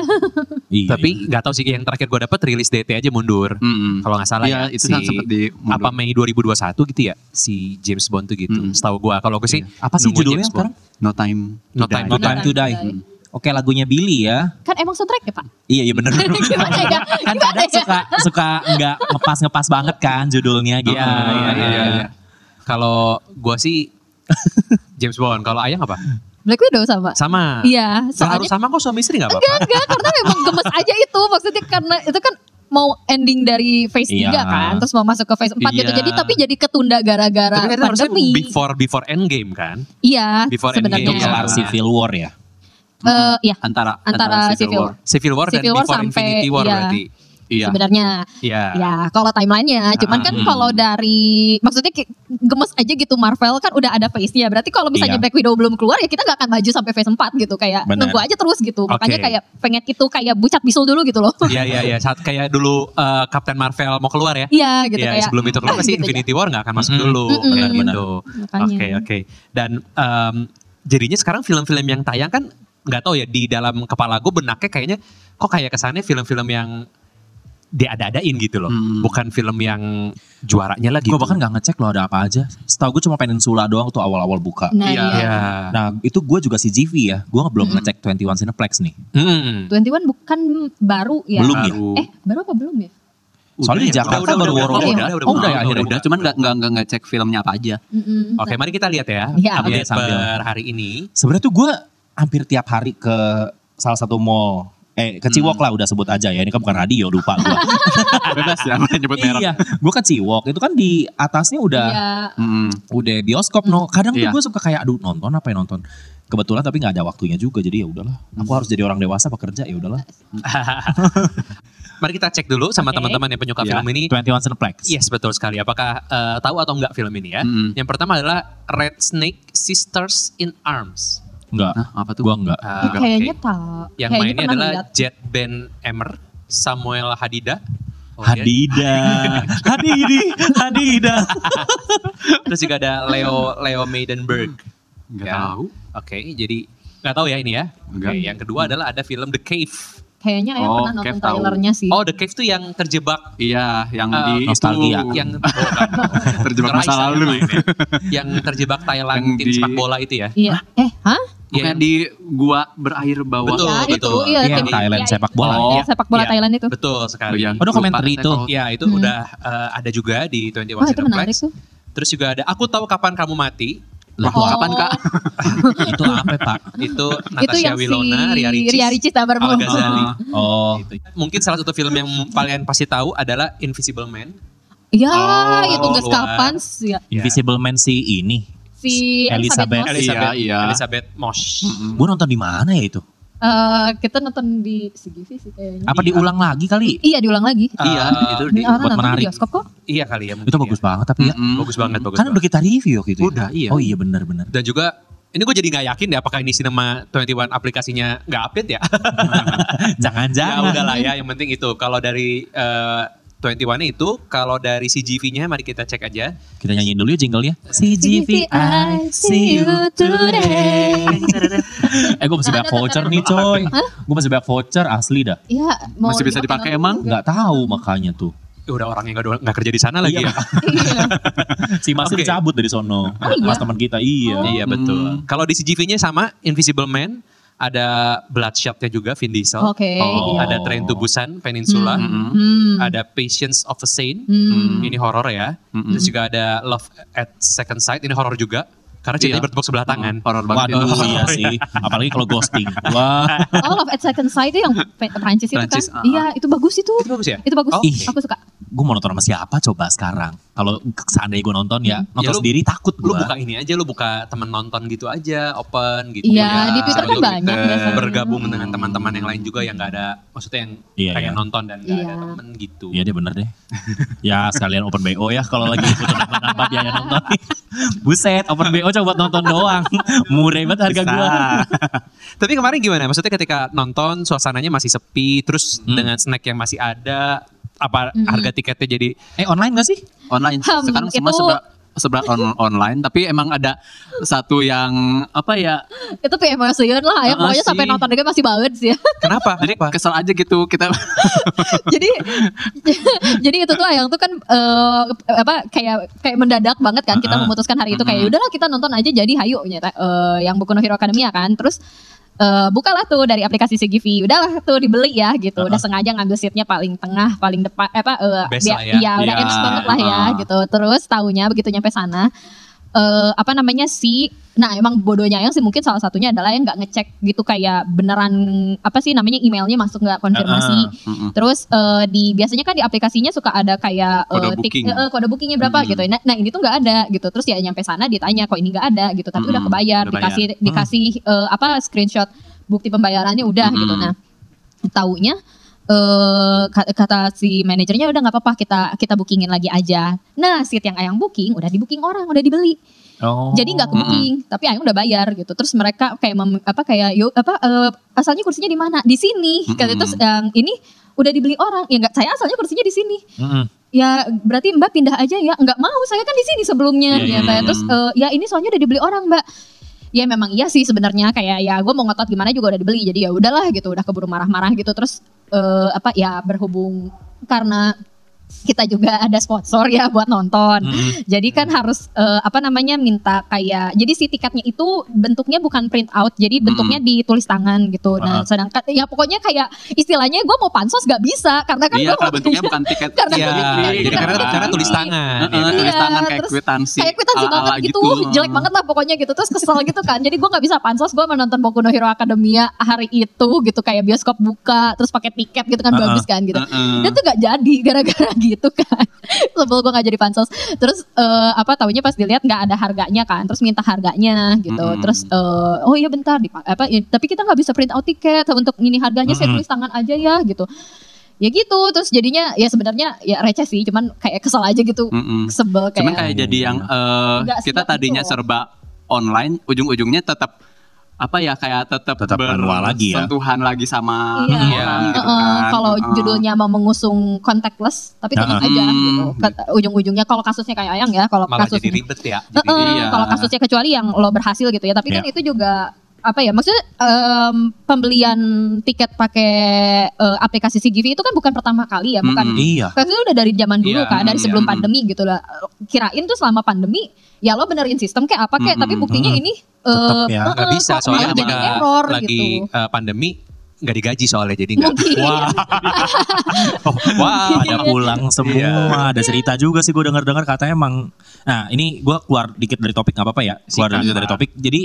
Speaker 2: Iya,
Speaker 1: Tapi
Speaker 2: iya.
Speaker 1: nggak tahu sih yang terakhir gue dapet rilis DT aja mundur.
Speaker 4: Mm-mm.
Speaker 1: Kalau nggak salah
Speaker 4: Iya,
Speaker 1: ya.
Speaker 4: itu
Speaker 1: si,
Speaker 4: kan sempat di
Speaker 1: apa Mei 2021 gitu ya si James Bond tuh gitu.
Speaker 4: Mm.
Speaker 1: Setahu gue kalau gue sih
Speaker 2: apa sih
Speaker 1: nunggu
Speaker 2: judulnya
Speaker 1: James Bond.
Speaker 2: sekarang?
Speaker 4: No Time
Speaker 1: No
Speaker 4: No
Speaker 1: Time
Speaker 4: Time.
Speaker 1: to
Speaker 2: No Time to Die.
Speaker 3: Die.
Speaker 2: Oke lagunya Billy ya.
Speaker 3: Kan emang soundtrack ya Pak?
Speaker 2: Iya iya bener.
Speaker 3: Gimana ya?
Speaker 2: kan kadang suka suka nggak ngepas ngepas banget kan judulnya gitu.
Speaker 1: Iya, iya,
Speaker 4: iya,
Speaker 1: iya.
Speaker 4: iya.
Speaker 1: Kalau gue sih James Bond. Kalau Ayang apa?
Speaker 3: Black Widow sama.
Speaker 1: Sama.
Speaker 3: Iya,
Speaker 1: Nggak harus
Speaker 3: soalnya
Speaker 1: sama kok suami istri nggak
Speaker 3: enggak
Speaker 1: apa-apa.
Speaker 3: enggak karena memang gemes aja itu maksudnya karena itu kan mau ending dari phase
Speaker 2: Iya.
Speaker 3: 3 kan terus mau masuk ke phase 4 gitu
Speaker 1: Iya.
Speaker 3: jadi tapi jadi ketunda gara-gara
Speaker 1: Tapi kan itu harusnya
Speaker 3: pandemi.
Speaker 1: before before Endgame kan?
Speaker 3: Iya,
Speaker 1: Before
Speaker 2: Itu
Speaker 1: Endgame.
Speaker 3: sebenarnya.
Speaker 2: kelar Civil War ya.
Speaker 3: Eh, iya,
Speaker 4: Antara
Speaker 3: Antara Civil War.
Speaker 1: Civil War
Speaker 3: Civil
Speaker 1: dan
Speaker 3: War
Speaker 1: before
Speaker 3: sampai-
Speaker 1: Infinity War
Speaker 3: iya.
Speaker 1: berarti.
Speaker 4: Iya.
Speaker 3: sebenarnya.
Speaker 1: Iya.
Speaker 3: Ya, kalau timelinenya, cuman kan
Speaker 2: Hmm.
Speaker 3: kalau dari maksudnya kayak gemes aja gitu Marvel kan udah ada phase-nya. Berarti kalau misalnya
Speaker 2: Iya.
Speaker 3: Black Widow belum keluar ya kita nggak akan maju sampai phase 4 gitu kayak
Speaker 2: Benar.
Speaker 3: nunggu aja terus gitu. Makanya
Speaker 1: Oke.
Speaker 3: kayak pengen itu kayak bucat bisul dulu gitu loh.
Speaker 1: Iya iya iya saat kayak dulu eh, Captain Marvel mau keluar ya.
Speaker 3: Iya gitu
Speaker 1: Iya,
Speaker 3: kayak
Speaker 1: sebelum itu keluar
Speaker 3: ah,
Speaker 1: pasti
Speaker 3: gitu
Speaker 1: Infinity War nggak akan masuk
Speaker 2: Mm-mm.
Speaker 1: dulu
Speaker 3: Mm-mm.
Speaker 1: benar
Speaker 2: Benar,
Speaker 1: gitu. Oke
Speaker 3: makanya.
Speaker 1: oke. Dan em, jadinya sekarang film-film yang tayang kan nggak tahu ya di dalam kepala gue benaknya kayaknya kok kayak kesannya film-film yang diada-adain gitu loh.
Speaker 4: Hmm.
Speaker 1: Bukan film yang juaranya Iya gitu. lagi.
Speaker 2: Gue bahkan nggak ngecek loh ada apa aja. Setahu gue cuma Peninsula doang tuh awal-awal buka.
Speaker 3: Nah,
Speaker 4: Iya.
Speaker 3: iya.
Speaker 1: Iya.
Speaker 2: Nah itu gue juga si GV ya. Gue belum
Speaker 3: Mm-mm.
Speaker 2: ngecek 21 Cineplex nih.
Speaker 1: Hmm.
Speaker 3: 21 bukan baru ya.
Speaker 2: Belum ya?
Speaker 4: Baru.
Speaker 3: Iya. Eh, baru apa belum ya?
Speaker 2: Soalnya di
Speaker 1: ya?
Speaker 2: Jakarta
Speaker 1: Udah, udah,
Speaker 2: baru
Speaker 1: udah,
Speaker 2: war
Speaker 1: udah,
Speaker 2: udah.
Speaker 1: udah, udah,
Speaker 2: Oh udah ya
Speaker 1: udah,
Speaker 2: akhirnya.
Speaker 4: udah, cuman nggak nggak nggak ngecek filmnya apa aja.
Speaker 3: Mm-mm.
Speaker 1: Oke, mari kita lihat ya.
Speaker 3: Iya.
Speaker 1: Update
Speaker 2: Iya, sambil.
Speaker 1: per hari ini.
Speaker 2: Sebenarnya tuh gue hampir tiap hari ke salah satu mall. Eh
Speaker 1: Mm.
Speaker 2: ke Ciwok lah udah sebut aja ya. Ini kan bukan radio lupa gue.
Speaker 4: Bebas ya, boleh nyebut merek.
Speaker 2: iya gue ke Ciwok. Itu kan di atasnya udah
Speaker 3: Iya.
Speaker 4: Mm-mm.
Speaker 2: udah bioskop no kadang tuh
Speaker 4: Iya.
Speaker 2: gue suka kayak aduh nonton apa ya nonton kebetulan tapi nggak ada waktunya juga jadi ya udahlah aku harus jadi orang dewasa bekerja ya udahlah
Speaker 1: Mari kita cek dulu sama
Speaker 3: Oke.
Speaker 1: teman-teman yang penyuka
Speaker 4: Iya.
Speaker 2: Ya.
Speaker 1: film ini. Iya.
Speaker 2: Twenty One Cineplex
Speaker 1: Yes, betul sekali. Apakah eh, tahu atau enggak film ini ya?
Speaker 4: Mm-mm.
Speaker 1: Yang pertama adalah Red Snake Sisters in Arms.
Speaker 2: nggak
Speaker 4: Nah, apa tuh?
Speaker 2: gue nggak
Speaker 1: Eh,
Speaker 3: Eh, kayaknya
Speaker 1: oke.
Speaker 3: tak.
Speaker 1: Yang
Speaker 3: kayaknya
Speaker 1: mainnya
Speaker 3: pernah
Speaker 1: adalah
Speaker 3: lihat.
Speaker 1: Jet Ben Emmer, Samuel Hadida. Oh, dia-
Speaker 2: Hadida Hadidi Hadida
Speaker 1: ya. Terus juga ada Leo Leo Maidenberg.
Speaker 4: Nggak
Speaker 1: Ya.
Speaker 4: tahu.
Speaker 1: Oke, jadi nggak tahu ya ini ya. Oke,
Speaker 4: Nggak.
Speaker 1: yang kedua adalah ada film The Cave.
Speaker 3: Kayaknya ayah
Speaker 4: Oh,
Speaker 3: pernah nonton
Speaker 4: Kev tahu.
Speaker 3: trailernya sih.
Speaker 1: Oh, The Cave tuh yang terjebak
Speaker 4: Iya, yang
Speaker 1: Eh,
Speaker 4: di
Speaker 2: nostalgia.
Speaker 4: itu.
Speaker 1: yang bukan.
Speaker 4: terjebak
Speaker 1: Raisa
Speaker 4: masa
Speaker 1: yang
Speaker 4: lalu.
Speaker 1: mainnya. yang terjebak Thailand
Speaker 4: Yang
Speaker 1: tim
Speaker 4: di-
Speaker 1: sepak bola itu ya.
Speaker 3: Iya. Eh, hah?
Speaker 4: Bukannya
Speaker 1: Yang-
Speaker 4: di gua berair bawah.
Speaker 1: Betul,
Speaker 3: ya,
Speaker 1: betul.
Speaker 3: Itu, iya,
Speaker 2: Iya,
Speaker 3: tim-
Speaker 2: Thailand,
Speaker 3: iya,
Speaker 2: sepak
Speaker 3: itu.
Speaker 2: bola.
Speaker 3: Iya,
Speaker 1: Oh,
Speaker 3: sepak bola
Speaker 1: iya.
Speaker 3: Thailand itu.
Speaker 1: Betul sekali.
Speaker 2: Aduh,
Speaker 4: yang iya. lupa
Speaker 2: komentari
Speaker 4: saya
Speaker 2: itu.
Speaker 4: kalau-
Speaker 1: Ya itu
Speaker 3: Nah, Hmm.
Speaker 1: udah eh, ada juga di 21
Speaker 3: Wah, itu menarik
Speaker 1: Cineplex.
Speaker 3: tuh.
Speaker 1: Terus juga ada Aku Tahu Kapan Kamu Mati.
Speaker 4: Wah,
Speaker 3: Oh.
Speaker 4: kapan kak?
Speaker 2: itu apa pak
Speaker 1: Itu
Speaker 3: itu
Speaker 1: Natasha
Speaker 3: yang
Speaker 1: Wilona,
Speaker 3: si
Speaker 1: Ria Ricis,
Speaker 3: Ria Ricis tabar
Speaker 1: Al
Speaker 4: Eh,
Speaker 1: Ghazali.
Speaker 2: oh
Speaker 1: Gitu. Mungkin salah satu film yang
Speaker 3: Hmm.
Speaker 1: kalian pasti tahu adalah Invisible Man.
Speaker 3: Ya,
Speaker 4: Oh,
Speaker 3: itu nggak
Speaker 1: keluar.
Speaker 3: kapan sih ya.
Speaker 1: iya.
Speaker 2: Invisible Man si ini
Speaker 3: Si
Speaker 2: Elizabeth.
Speaker 3: Elizabeth Moss.
Speaker 1: Elizabeth,
Speaker 4: Oh, iya.
Speaker 1: Elizabeth Moss.
Speaker 2: gue nonton di mana ya itu
Speaker 3: eh, kita nonton di CGV sih kayaknya.
Speaker 2: Apa diulang lagi kali?
Speaker 3: Iya diulang lagi.
Speaker 4: Iya, itu
Speaker 3: Ini
Speaker 4: di-
Speaker 3: orang
Speaker 2: buat
Speaker 3: nonton
Speaker 2: menarik.
Speaker 3: di bioskop kok.
Speaker 1: Iya kali ya.
Speaker 2: Itu bagus banget tapi ya.
Speaker 4: Mm-mm.
Speaker 1: Bagus banget, bagus
Speaker 2: Kan udah kita review waktu itu. ya?
Speaker 1: Udah, iya.
Speaker 2: Oh iya benar-benar.
Speaker 1: Dan juga ini gue jadi nggak yakin deh apakah ini Cinema 21 aplikasinya nggak update ya? ya
Speaker 2: Jangan-jangan.
Speaker 1: udah lah ya, yang penting itu. Kalau dari eh, 21 itu, kalau dari CGV-nya mari kita cek aja.
Speaker 2: Kita nyanyiin dulu ya jinglenya. CGV I see you today. eh gue masih banyak voucher nih coy. Gue masih banyak voucher asli dah.
Speaker 3: Iya. mau
Speaker 4: Masih bisa
Speaker 3: dipakai
Speaker 4: dipakai
Speaker 3: lagi
Speaker 4: emang?
Speaker 3: juga.
Speaker 2: Nggak tahu makanya tuh.
Speaker 1: Ya udah orang yang nggak- nggak kerja di sana lagi
Speaker 2: Iya.
Speaker 1: ya.
Speaker 3: Iya.
Speaker 2: Si Mas
Speaker 1: Oke.
Speaker 2: cabut dari sono.
Speaker 3: iya?
Speaker 2: Mas teman kita iya.
Speaker 1: Iya betul.
Speaker 4: Hmm.
Speaker 1: Kalau di CGV-nya sama Invisible Man, ada Bloodshot-nya juga Vin Diesel.
Speaker 3: Oke.
Speaker 2: Oh.
Speaker 3: iya.
Speaker 1: Ada Train to Busan Peninsula,
Speaker 4: Mm-mm.
Speaker 3: Hmm.
Speaker 1: ada Patience of a Saint.
Speaker 3: Hmm.
Speaker 1: Ini horor ya.
Speaker 4: Mm-mm.
Speaker 1: Terus juga ada Love at Second Sight, ini horor juga. Karena ceritanya
Speaker 4: Iya.
Speaker 1: bertepuk sebelah tangan.
Speaker 4: Mm, horor banget
Speaker 2: Waduh
Speaker 4: itu.
Speaker 2: iya sih. Apalagi kalau ghosting. Wah.
Speaker 3: Oh Love at Second Sight itu yang Pe- Perancis itu kan?
Speaker 4: Perancis, ah.
Speaker 3: Iya itu bagus itu.
Speaker 1: Itu bagus ya?
Speaker 3: Itu bagus.
Speaker 1: Oh,
Speaker 2: ih.
Speaker 3: Aku suka.
Speaker 2: Gue mau nonton sama siapa coba sekarang. Kalau seandainya gue nonton ya. Nonton
Speaker 1: lu-
Speaker 2: sendiri takut
Speaker 1: Lu
Speaker 2: gue.
Speaker 1: buka ini aja, lu buka temen nonton gitu aja, open gitu. Ya,
Speaker 3: Iya di Twitter kan
Speaker 1: sebelum
Speaker 3: banyak
Speaker 4: Twitter.
Speaker 3: biasanya.
Speaker 1: Bergabung dengan teman-teman yang lain juga yang gak ada, maksudnya yang
Speaker 2: Iya,
Speaker 1: pengen
Speaker 2: iya.
Speaker 1: nonton dan gak ada
Speaker 3: Iya.
Speaker 1: temen gitu.
Speaker 2: Iya deh bener deh. ya sekalian open BO ya kalau lagi butuh nambah-nambah biaya nonton. Buset open BO coba buat nonton doang. Murah banget harga
Speaker 4: Bisa.
Speaker 2: gua.
Speaker 1: Tapi kemarin gimana? Maksudnya ketika nonton suasananya masih sepi, terus
Speaker 2: Hmm.
Speaker 1: dengan snack yang masih ada, apa
Speaker 3: Mm-mm.
Speaker 1: harga tiketnya jadi
Speaker 2: Eh online gak sih?
Speaker 4: online
Speaker 3: Hmm,
Speaker 4: sekarang semua
Speaker 3: itu-
Speaker 4: sebera sebera on- online tapi emang ada satu yang apa ya
Speaker 3: Itu PMSian lah ya.
Speaker 4: Ah,
Speaker 3: Pokoknya
Speaker 4: sih.
Speaker 3: sampai nonton juga masih banget sih ya.
Speaker 1: kenapa? Jadi
Speaker 4: kesel aja gitu kita
Speaker 3: jadi jadi itu tuh yang tuh kan eh, apa kayak kayak mendadak banget kan kita
Speaker 2: Ah.
Speaker 3: memutuskan hari itu
Speaker 4: Mm-mm.
Speaker 3: kayak udahlah kita nonton aja jadi hayu nyata eh, yang Boku no Hero Academia kan terus eh, bukalah tuh dari aplikasi CGV udahlah tuh dibeli ya gitu udah sengaja ngambil seatnya paling tengah paling depan eh, apa eh,
Speaker 1: Best lah ya.
Speaker 3: ya udah
Speaker 1: Iya,
Speaker 3: enak banget lah ya
Speaker 4: ah.
Speaker 3: gitu terus tahunya begitu nyampe sana eh, apa namanya si nah emang bodohnya yang sih mungkin salah satunya adalah yang nggak ngecek gitu kayak beneran apa sih namanya emailnya masuk nggak konfirmasi
Speaker 2: Ah, ah.
Speaker 4: Mm-mm.
Speaker 3: Terus eh, di biasanya kan di aplikasinya suka ada kayak eh,
Speaker 4: Kode
Speaker 3: tik-
Speaker 4: booking.
Speaker 3: eh, eh, kode bookingnya berapa
Speaker 4: Mm-mm.
Speaker 3: gitu. Nah, nah, ini tuh nggak ada gitu. Terus ya nyampe sana ditanya kok ini nggak ada gitu. Tapi udah
Speaker 4: Mm-mm,
Speaker 3: kebayar,
Speaker 4: udah
Speaker 3: dikasih dikasih eh, apa screenshot bukti pembayarannya udah gitu.
Speaker 4: Mm-mm.
Speaker 3: Nah, taunya eh ka- kata si manajernya udah nggak apa-apa kita kita bookingin lagi aja. Nah, seat yang ayang booking udah di booking orang, udah dibeli
Speaker 2: Oh.
Speaker 3: jadi nggak ke
Speaker 4: Mm-mm.
Speaker 3: booking tapi ayang udah bayar gitu terus mereka kayak mem- apa kayak yo apa eh, asalnya kursinya di mana di sini
Speaker 4: Mm-mm.
Speaker 3: kata terus yang ini udah dibeli orang ya nggak saya asalnya kursinya di sini
Speaker 2: Mm-mm.
Speaker 3: ya berarti mbak pindah aja ya nggak mau saya kan di sini
Speaker 2: Iya,
Speaker 3: sebelumnya ya
Speaker 2: iya,
Speaker 3: saya
Speaker 4: iya.
Speaker 3: terus eh, ya ini soalnya udah dibeli orang mbak ya memang iya sih sebenarnya kayak ya gue mau ngotot gimana juga udah dibeli jadi ya udahlah gitu udah keburu marah-marah gitu terus eh, apa ya berhubung karena kita juga ada sponsor ya buat nonton
Speaker 2: Mm-mm.
Speaker 3: jadi kan
Speaker 4: Hmm.
Speaker 3: harus eh, apa namanya minta kayak jadi si tiketnya itu bentuknya bukan print out, jadi bentuknya
Speaker 4: Hmm.
Speaker 3: ditulis tangan gitu. Nah,
Speaker 2: Ah.
Speaker 3: sedangkan ya pokoknya kayak istilahnya gue mau pansos gak bisa karena kan
Speaker 4: iya
Speaker 3: gue
Speaker 4: kalau bentuknya bukan tiket
Speaker 3: Karena
Speaker 1: Iya,
Speaker 3: Iya,
Speaker 1: jadi
Speaker 3: iya.
Speaker 1: karena, karena tulis tangan.
Speaker 4: Heeh,
Speaker 1: gitu.
Speaker 4: tulis
Speaker 3: Iya,
Speaker 4: tangan kayak
Speaker 3: terus
Speaker 4: kwitansi
Speaker 3: kayak kwitansi
Speaker 4: ala-ala
Speaker 3: banget gitu, jelek banget lah pokoknya gitu terus kesel gitu kan jadi gue nggak bisa pansos gue menonton Boku no Hero Academia hari itu gitu kayak bioskop buka terus pakai tiket gitu kan
Speaker 2: Ah,
Speaker 3: bagus kan gitu
Speaker 4: Heeh.
Speaker 3: Dan tuh gak jadi gara-gara gitu kan. Sebel gue gak jadi pansos. Terus eh, apa taunya pas dilihat nggak ada harganya kan. Terus minta harganya gitu.
Speaker 4: Mm-mm.
Speaker 3: Terus eh, oh iya bentar di apa i- tapi kita nggak bisa print out tiket untuk ini harganya saya
Speaker 2: Mm-mm.
Speaker 3: tulis tangan aja ya gitu. Ya gitu terus jadinya ya sebenarnya ya receh sih cuman kayak kesel aja gitu.
Speaker 4: Mm-mm.
Speaker 3: Sebel
Speaker 4: cuman
Speaker 3: kayak.
Speaker 4: kayak jadi yang
Speaker 2: Iya.
Speaker 4: eh,
Speaker 3: Nggak
Speaker 4: kita
Speaker 3: sedap
Speaker 4: tadinya
Speaker 3: gitu.
Speaker 4: serba online ujung-ujungnya tetap apa ya kayak tetap
Speaker 2: Tetap manual lagi ya.
Speaker 4: sentuhan lagi sama
Speaker 3: Iya.
Speaker 4: orang gitu
Speaker 3: Heeh,
Speaker 4: kan
Speaker 3: kalau
Speaker 4: Heeh.
Speaker 3: judulnya mau mengusung contactless tapi tetap
Speaker 4: Heeh.
Speaker 3: aja gitu.
Speaker 4: Hmm.
Speaker 3: Kata- Ujung-ujungnya kalau kasusnya kayak Ayang ya kalau
Speaker 1: Malah jadi
Speaker 3: kasusnya
Speaker 1: ribet ya.
Speaker 3: Heeh,
Speaker 1: Jadi, Iya.
Speaker 4: iya.
Speaker 3: kalau kasusnya kecuali yang lo berhasil gitu ya. Tapi kan itu juga apa ya maksudnya em, pembelian tiket pakai eh, aplikasi CGV itu kan bukan pertama kali ya, bukan.
Speaker 2: Iya.
Speaker 3: Karena udah dari zaman dulu
Speaker 1: Iya,
Speaker 3: kan, dari
Speaker 4: iya,
Speaker 3: sebelum
Speaker 4: mm.
Speaker 3: pandemi gitu lah. Kirain tuh selama pandemi ya lo benerin sistem kayak apa kayak,
Speaker 4: Mm,
Speaker 3: tapi buktinya
Speaker 2: mm.
Speaker 3: ini
Speaker 2: Tetep
Speaker 3: eh,
Speaker 2: ya,
Speaker 3: eh,
Speaker 1: nggak bisa
Speaker 3: kok
Speaker 1: soalnya
Speaker 3: malah jadi
Speaker 1: ketika
Speaker 3: error
Speaker 1: lagi
Speaker 3: gitu.
Speaker 1: eh, pandemi nggak digaji soalnya jadi nggak.
Speaker 3: Mungkin.
Speaker 1: Wah. Oh, wah.
Speaker 2: pada pulang semua ada cerita juga sih gue dengar dengar katanya emang nah ini gue keluar dikit dari topik nggak apa-apa ya keluar
Speaker 4: Sikat,
Speaker 2: dikit dari
Speaker 4: Pak.
Speaker 2: topik jadi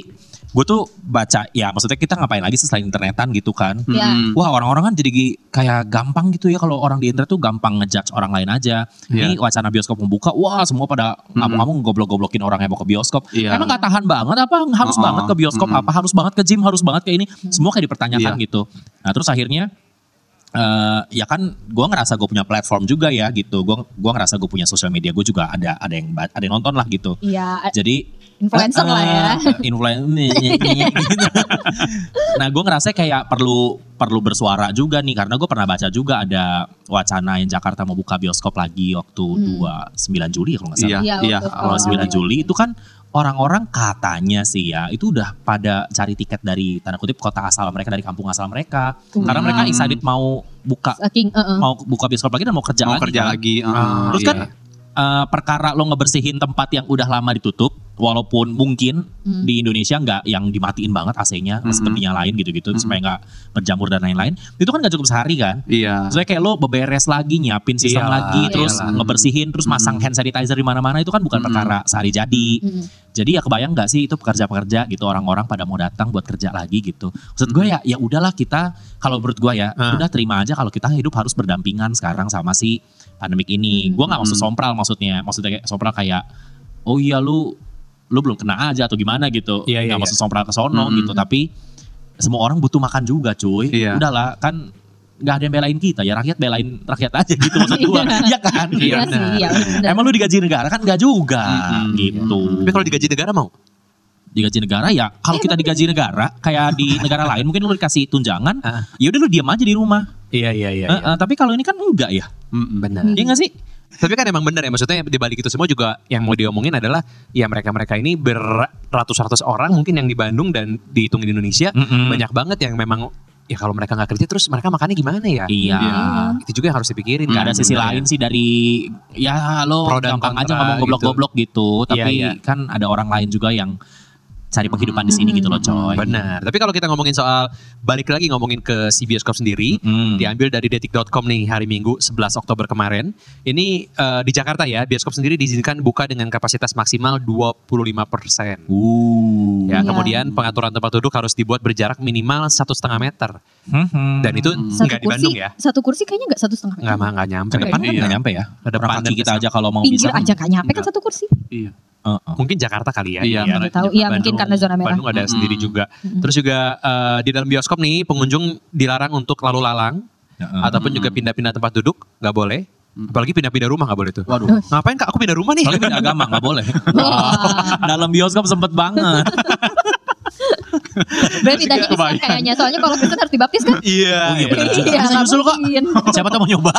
Speaker 2: gue tuh baca ya maksudnya kita ngapain lagi sih selain internetan gitu kan
Speaker 3: Iya.
Speaker 4: Mm-mm.
Speaker 2: Wah orang-orang kan jadi gi- kayak gampang gitu ya kalau orang di internet tuh gampang ngejudge orang lain aja. Ini wacana bioskop membuka, wah semua pada ngamuk-ngamuk goblok-goblokin orang yang mau ke bioskop.
Speaker 4: Iya.
Speaker 2: Emang gak tahan banget apa harus
Speaker 4: Oh,
Speaker 2: banget ke bioskop
Speaker 4: mm-mm.
Speaker 2: apa harus banget ke gym harus banget kayak ini semua kayak dipertanyakan gitu. Nah terus akhirnya eh, ya kan gue ngerasa gue punya platform juga ya gitu. Gue gua ngerasa gue punya sosial media gue juga ada ada yang ba- ada yang nonton lah gitu.
Speaker 3: Iya,
Speaker 2: Jadi
Speaker 3: influencer lah ya.
Speaker 1: Iya.
Speaker 2: Ah, Influencer. gitu. nah, gue ngerasa kayak perlu perlu bersuara juga nih karena gue pernah baca juga ada wacana yang Jakarta mau buka bioskop lagi waktu
Speaker 3: Hmm.
Speaker 2: 29 Juli ya, kalau nggak salah.
Speaker 4: Iya,
Speaker 3: Iya,
Speaker 4: iya.
Speaker 3: untuk
Speaker 2: Kalau
Speaker 4: awal
Speaker 3: awal.
Speaker 2: 9 Juli itu kan orang-orang katanya sih ya itu udah pada cari tiket dari tanda kutip kota asal mereka dari kampung asal mereka karena
Speaker 3: Wow.
Speaker 2: mereka excited mau buka
Speaker 3: Saking, eh, eh.
Speaker 2: mau buka bioskop lagi dan mau kerja
Speaker 4: mau
Speaker 2: lagi.
Speaker 4: kerja
Speaker 2: kan.
Speaker 4: lagi. uh,
Speaker 1: Ah,
Speaker 2: Terus
Speaker 4: iya.
Speaker 2: kan eh, perkara lo ngebersihin tempat yang udah lama ditutup, walaupun mungkin
Speaker 3: Hmm.
Speaker 2: di Indonesia nggak yang dimatiin banget AC-nya,
Speaker 4: Mhm.
Speaker 2: tetap dinyalain gitu-gitu
Speaker 4: Mhm.
Speaker 2: supaya nggak berjamur dan lain-lain. Itu kan nggak cukup sehari kan?
Speaker 4: iya.
Speaker 2: Maksudnya kayak lo beberes lagi, nyiapin sistem
Speaker 1: Iyalah,
Speaker 2: lagi, terus
Speaker 1: iyalah.
Speaker 2: ngebersihin, terus masang
Speaker 4: Mhm.
Speaker 2: hand sanitizer di mana-mana itu kan bukan
Speaker 4: Mhm.
Speaker 2: perkara sehari jadi.
Speaker 3: Mm-mm.
Speaker 2: Jadi ya kebayang nggak sih itu pekerja-pekerja gitu orang-orang pada mau datang buat kerja lagi gitu. Maksud gue ya ya udahlah kita kalau menurut gue ya
Speaker 1: Ah.
Speaker 2: udah terima aja kalau kita hidup harus berdampingan sekarang sama si pandemik ini.
Speaker 3: Hmm.
Speaker 2: Gue nggak maksud
Speaker 4: Hmm.
Speaker 2: sompral maksudnya, maksudnya kayak sompral kayak oh iya lu lu belum kena aja atau gimana gitu.
Speaker 1: Iya, iya,
Speaker 2: Nggak
Speaker 1: iya.
Speaker 2: maksud sompral ke sono
Speaker 4: Hmm.
Speaker 2: gitu tapi semua orang butuh makan juga cuy.
Speaker 4: Iya.
Speaker 2: Udahlah kan nggak ada yang belain kita ya rakyat belain rakyat aja gitu maksud gue. Iya kan?
Speaker 3: Iya
Speaker 1: Iya,
Speaker 3: sih,
Speaker 1: benar.
Speaker 3: iya benar.
Speaker 2: Emang lu digaji negara kan nggak juga
Speaker 4: Hmm.
Speaker 2: gitu
Speaker 1: Tapi kalau digaji negara mau?
Speaker 2: digaji negara ya kalau
Speaker 3: Iya,
Speaker 2: kita digaji negara kayak di negara lain mungkin lu dikasih tunjangan
Speaker 1: Ah.
Speaker 2: ya udah lu diam aja di rumah
Speaker 1: Iya iya iya.
Speaker 2: Eh, eh, tapi kalau ini kan enggak ya
Speaker 1: Benar.
Speaker 2: iya nggak sih
Speaker 1: Tapi kan emang benar ya maksudnya di balik itu semua juga yang mau diomongin adalah ya mereka-mereka ini beratus-ratus orang mungkin yang di Bandung dan dihitung di
Speaker 2: Hmm.
Speaker 1: Indonesia banyak banget yang memang ya kalau mereka nggak kerja terus mereka makannya gimana ya?
Speaker 2: iya Hmm.
Speaker 4: Iya.
Speaker 1: Itu juga yang harus dipikirin.
Speaker 2: nggak ada
Speaker 1: kan
Speaker 2: sisi
Speaker 1: sebenarnya.
Speaker 2: lain sih dari ya lo
Speaker 1: Pro dan
Speaker 2: gampang
Speaker 1: kontra
Speaker 2: aja ngomong
Speaker 1: gitu.
Speaker 2: goblok-goblok gitu,
Speaker 1: Iya,
Speaker 2: tapi
Speaker 1: iya.
Speaker 2: kan ada orang lain juga yang cari penghidupan di sini gitu loh coy
Speaker 1: Benar. Tapi kalau kita ngomongin soal balik lagi ngomongin ke si bioskop sendiri,
Speaker 2: Mm.
Speaker 1: diambil dari detik.com nih hari Minggu 11 Oktober kemarin. Ini eh, di Jakarta ya, bioskop sendiri diizinkan buka dengan kapasitas maksimal 25%.
Speaker 2: Uh.
Speaker 1: Ya,
Speaker 3: Iya.
Speaker 1: kemudian pengaturan tempat duduk harus dibuat berjarak minimal satu setengah meter
Speaker 2: Mhm.
Speaker 1: dan itu
Speaker 4: Hmm.
Speaker 1: nggak di Bandung ya,
Speaker 3: Satu kursi kayaknya nggak satu setengah.
Speaker 1: nggak mah nggak nyampe.
Speaker 2: ke depan kan
Speaker 4: Iya.
Speaker 2: nggak nyampe ya
Speaker 1: Ke depan
Speaker 2: Orang kaki
Speaker 1: dan ke
Speaker 2: kita aja kalau mau bisa
Speaker 3: Pinggir
Speaker 2: kan-
Speaker 3: aja nggak nyampe kan satu kursi.
Speaker 4: Iya.
Speaker 2: Eh, eh.
Speaker 1: Mungkin Jakarta kali ya.
Speaker 4: Iya,
Speaker 1: Iya.
Speaker 3: Nggak tahu. Iya mungkin
Speaker 1: Bandung-
Speaker 3: karena zona merah. Hmm.
Speaker 1: Bandung kan ada
Speaker 4: Mm-mm.
Speaker 1: sendiri juga.
Speaker 3: Mm-mm.
Speaker 1: Terus juga eh, di dalam bioskop nih pengunjung dilarang untuk lalu-lalang
Speaker 2: Ya, eh.
Speaker 1: ataupun juga pindah-pindah tempat duduk nggak boleh.
Speaker 4: Mm.
Speaker 1: Apalagi pindah-pindah rumah nggak boleh tuh.
Speaker 2: waduh
Speaker 1: Ngapain kak? Aku pindah rumah nih.
Speaker 2: Soalnya beda agama nggak boleh.
Speaker 3: Wah,
Speaker 2: Dalam bioskop sempet banget.
Speaker 3: berarti tadi Kristen kayaknya. Soalnya kalau Kristen harus dibaptis kan.
Speaker 1: Iya.
Speaker 2: Oh iya,
Speaker 1: iya.
Speaker 2: bener juga.
Speaker 3: Iya,
Speaker 2: Bisa
Speaker 3: nggak
Speaker 2: nyusul kok.
Speaker 3: mungkin.
Speaker 2: Siapa tuh mau nyoba?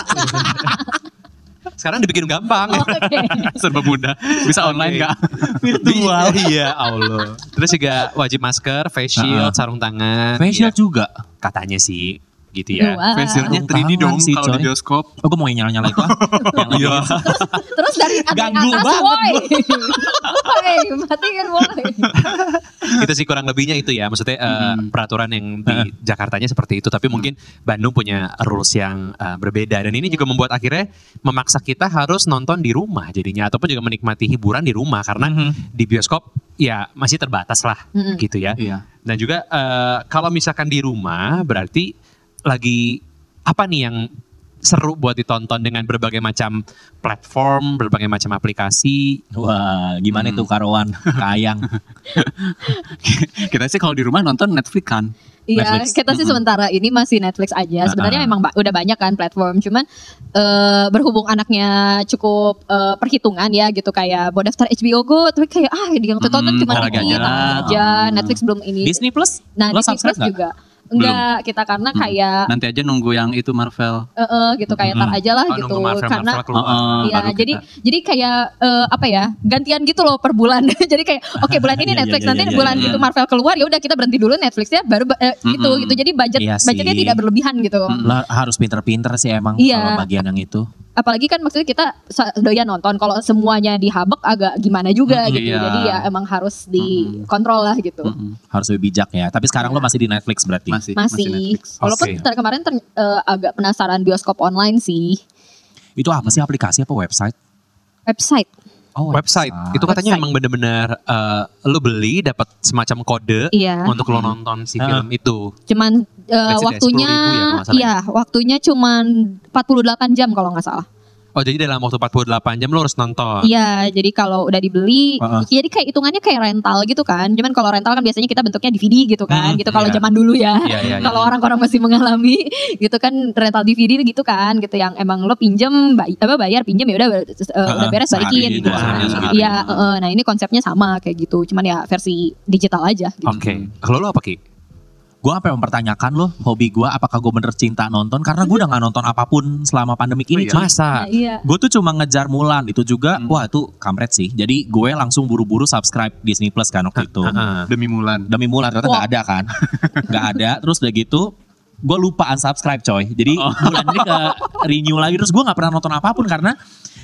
Speaker 1: Sekarang dibikin gampang.
Speaker 3: Oh, Oke.
Speaker 4: Serba mudah. Bisa online
Speaker 1: Oke.
Speaker 4: nggak?
Speaker 2: Virtual.
Speaker 1: iya Allah. Terus juga wajib masker, face shield,
Speaker 2: Heeh.
Speaker 1: sarung tangan.
Speaker 2: Facial
Speaker 1: Iya,
Speaker 2: juga.
Speaker 1: katanya sih gitu ya.
Speaker 3: Dua.
Speaker 4: Facialnya
Speaker 2: Sarung
Speaker 4: 3D
Speaker 2: tangan
Speaker 4: dong
Speaker 2: sih,
Speaker 4: kalau di
Speaker 2: coy.
Speaker 4: bioskop.
Speaker 2: Oh, gue mau yang nyala-nyala itu. ah. Yang lagi.
Speaker 4: Iya.
Speaker 3: Terus dari atas
Speaker 2: Ganggu
Speaker 3: atas,
Speaker 2: banget
Speaker 3: woi. Woi, matiin woi.
Speaker 1: itu sih kurang lebihnya itu ya. Maksudnya eh,
Speaker 4: Mm-mm.
Speaker 1: peraturan yang di Jakartanya seperti itu, tapi mungkin Bandung punya rules yang eh, berbeda dan ini juga membuat akhirnya memaksa kita harus nonton di rumah jadinya ataupun juga menikmati hiburan di rumah karena
Speaker 2: Mhm.
Speaker 1: di bioskop ya masih terbatas lah
Speaker 3: Mm-mm.
Speaker 1: gitu ya.
Speaker 4: Iya.
Speaker 1: Dan juga eh, kalau misalkan di rumah berarti lagi apa nih yang seru buat ditonton dengan berbagai macam platform, berbagai macam aplikasi.
Speaker 2: Wah, gimana
Speaker 4: Hmm.
Speaker 2: itu karuan? Kayang.
Speaker 4: Kita sih kalau di rumah nonton Netflix kan.
Speaker 3: Iya,
Speaker 2: Netflix.
Speaker 3: kita sih
Speaker 4: Mm-mm.
Speaker 3: sementara ini masih Netflix aja. Sebenarnya
Speaker 2: Ah.
Speaker 3: emang ba- udah banyak kan platform, cuman eh, berhubung anaknya cukup eh, perhitungan ya gitu kayak mau daftar HBO Go, tapi kayak ah yang tonton
Speaker 4: Mm,
Speaker 3: cuma
Speaker 1: olahraga
Speaker 3: ini
Speaker 1: aja.
Speaker 3: olahraga aja.
Speaker 4: Mm.
Speaker 3: Netflix belum ini.
Speaker 2: Disney Plus?
Speaker 3: nah,
Speaker 2: lo
Speaker 3: Disney
Speaker 2: subscribe
Speaker 3: Plus
Speaker 2: nggak? Hmm.
Speaker 3: juga enggak kita karena
Speaker 4: Mm.
Speaker 3: kayak
Speaker 4: Nanti aja nunggu yang itu Marvel.
Speaker 3: eh, eh, gitu kayak
Speaker 2: Hmm.
Speaker 3: tar aja lah
Speaker 1: Oh,
Speaker 3: gitu
Speaker 1: nunggu Marvel,
Speaker 3: karena
Speaker 1: Marvel keluar.
Speaker 4: Heeh,
Speaker 2: Oh,
Speaker 3: Iya,
Speaker 4: baru
Speaker 3: jadi
Speaker 4: kita-
Speaker 3: jadi kayak eh, apa ya gantian gitu loh per bulan. jadi kayak oke bulan ini
Speaker 2: Iya,
Speaker 3: Netflix,
Speaker 2: iya,
Speaker 3: nanti
Speaker 2: iya, Hmm,
Speaker 3: bulan
Speaker 4: iya.
Speaker 3: itu Marvel keluar ya udah kita berhenti dulu Netflixnya baru ba- eh, gitu
Speaker 4: Mm-mm.
Speaker 3: gitu. Jadi budget
Speaker 2: Iya sih. Hmm.
Speaker 3: budgetnya tidak berlebihan gitu.
Speaker 4: Mm.
Speaker 2: Lah, harus pinter-pinter sih emang
Speaker 3: Iya.
Speaker 2: kalau bagian yang itu.
Speaker 3: apalagi kan maksudnya kita sa- doyan nonton kalau semuanya dihabek agak gimana juga
Speaker 2: Mm,
Speaker 3: gitu
Speaker 4: iya.
Speaker 3: jadi ya emang harus
Speaker 2: Hmm.
Speaker 3: dikontrol lah gitu
Speaker 4: Mm-mm.
Speaker 2: Harus lebih bijak ya. Tapi sekarang lo
Speaker 3: Iya.
Speaker 2: masih di Netflix berarti.
Speaker 4: Hmm, Masih, masih
Speaker 3: masih
Speaker 4: Netflix.
Speaker 3: walaupun
Speaker 1: Oke.
Speaker 3: ter- kemarin ter- eh, agak penasaran bioskop online sih
Speaker 2: Itu apa sih aplikasi apa website?
Speaker 3: website
Speaker 2: Oh,
Speaker 1: website. Itu katanya
Speaker 3: Website.
Speaker 1: emang bener-bener eh, lo beli dapat semacam kode
Speaker 3: iya
Speaker 1: untuk lo nonton si film itu.
Speaker 3: cuman eh,
Speaker 1: Let's say 10.000
Speaker 3: waktunya
Speaker 1: ya, kalau nggak salah
Speaker 3: iya waktunya cuman 48 jam kalau nggak salah
Speaker 1: Oh jadi dalam waktu 48 jam lo harus nonton.
Speaker 3: iya jadi kalau udah dibeli
Speaker 1: Ah.
Speaker 2: Heeh.
Speaker 3: jadi kayak hitungannya kayak rental gitu kan cuman kalau rental kan biasanya kita bentuknya DVD gitu kan
Speaker 1: Mm,
Speaker 3: gitu kalau
Speaker 1: iya.
Speaker 3: zaman dulu
Speaker 1: Iya
Speaker 3: ya
Speaker 1: iya. iya.
Speaker 3: kalau orang-orang masih mengalami gitu kan rental DVD gitu kan gitu yang emang lo pinjem bay- apa bayar pinjem ya udah eh, udah
Speaker 1: Ah,
Speaker 3: beres
Speaker 1: Nah,
Speaker 2: sehari,
Speaker 3: balikin gitu
Speaker 2: dua
Speaker 3: kan.
Speaker 2: hari,
Speaker 4: sehari.
Speaker 3: Iya, eh, nah ini konsepnya sama kayak gitu, cuman ya versi digital aja gitu.
Speaker 2: Oh,
Speaker 1: Oke. Kalau lo apa ki?
Speaker 2: Gue apa yang mempertanyakan lo hobi gue apakah gue bener cinta nonton karena
Speaker 3: Hmm.
Speaker 2: gue udah nggak nonton apapun selama pandemik
Speaker 1: Oh,
Speaker 2: ini. cuy.
Speaker 3: Nah,
Speaker 1: Masa?
Speaker 3: iya.
Speaker 2: Gue tuh cuma ngejar Mulan itu juga,
Speaker 4: Hmm.
Speaker 2: wah itu kampret sih. Jadi gue langsung buru-buru subscribe Disney Plus kan waktu itu.
Speaker 1: Heeh.
Speaker 4: Demi Mulan.
Speaker 2: Demi Mulan ternyata nggak ada kan, nggak ada. Terus udah gitu, gue lupa unsubscribe coy. Jadi
Speaker 1: Oh.
Speaker 2: bulan ini ke renew lagi terus gue nggak pernah nonton apapun karena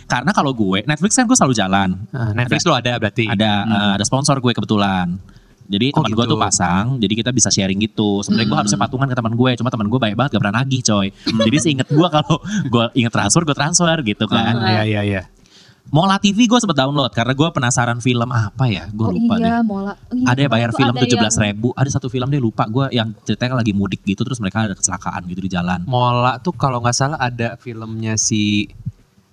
Speaker 2: karena kalau gue Netflix kan gue selalu jalan.
Speaker 1: Heeh, Netflix lo ada berarti.
Speaker 2: Ada eh, ada sponsor gue kebetulan. Jadi
Speaker 1: Iya. Hmm. Oh,
Speaker 2: teman gue
Speaker 1: gitu. Hmm.
Speaker 2: tuh pasang, jadi kita bisa sharing gitu. Sebenarnya gue harusnya patungan ke teman gue, cuma teman gue banyak banget gak pernah nagih coy. Jadi seinget gue kalau gue inget transfer, gue transfer gitu kan.
Speaker 1: Ah, Iya iya iya.
Speaker 2: Mola TV gue sempet download karena gue penasaran film apa ya, gue
Speaker 3: Oh
Speaker 2: lupa deh.
Speaker 3: iya, mola. Iya,
Speaker 2: Ada yang bayar
Speaker 3: tuh
Speaker 2: film
Speaker 3: ada
Speaker 2: tujuh belas
Speaker 3: yang-
Speaker 2: ribu, ada satu film dia lupa gue yang ceritanya lagi mudik gitu terus mereka ada kecelakaan gitu di jalan.
Speaker 1: Mola tuh kalau nggak salah ada filmnya si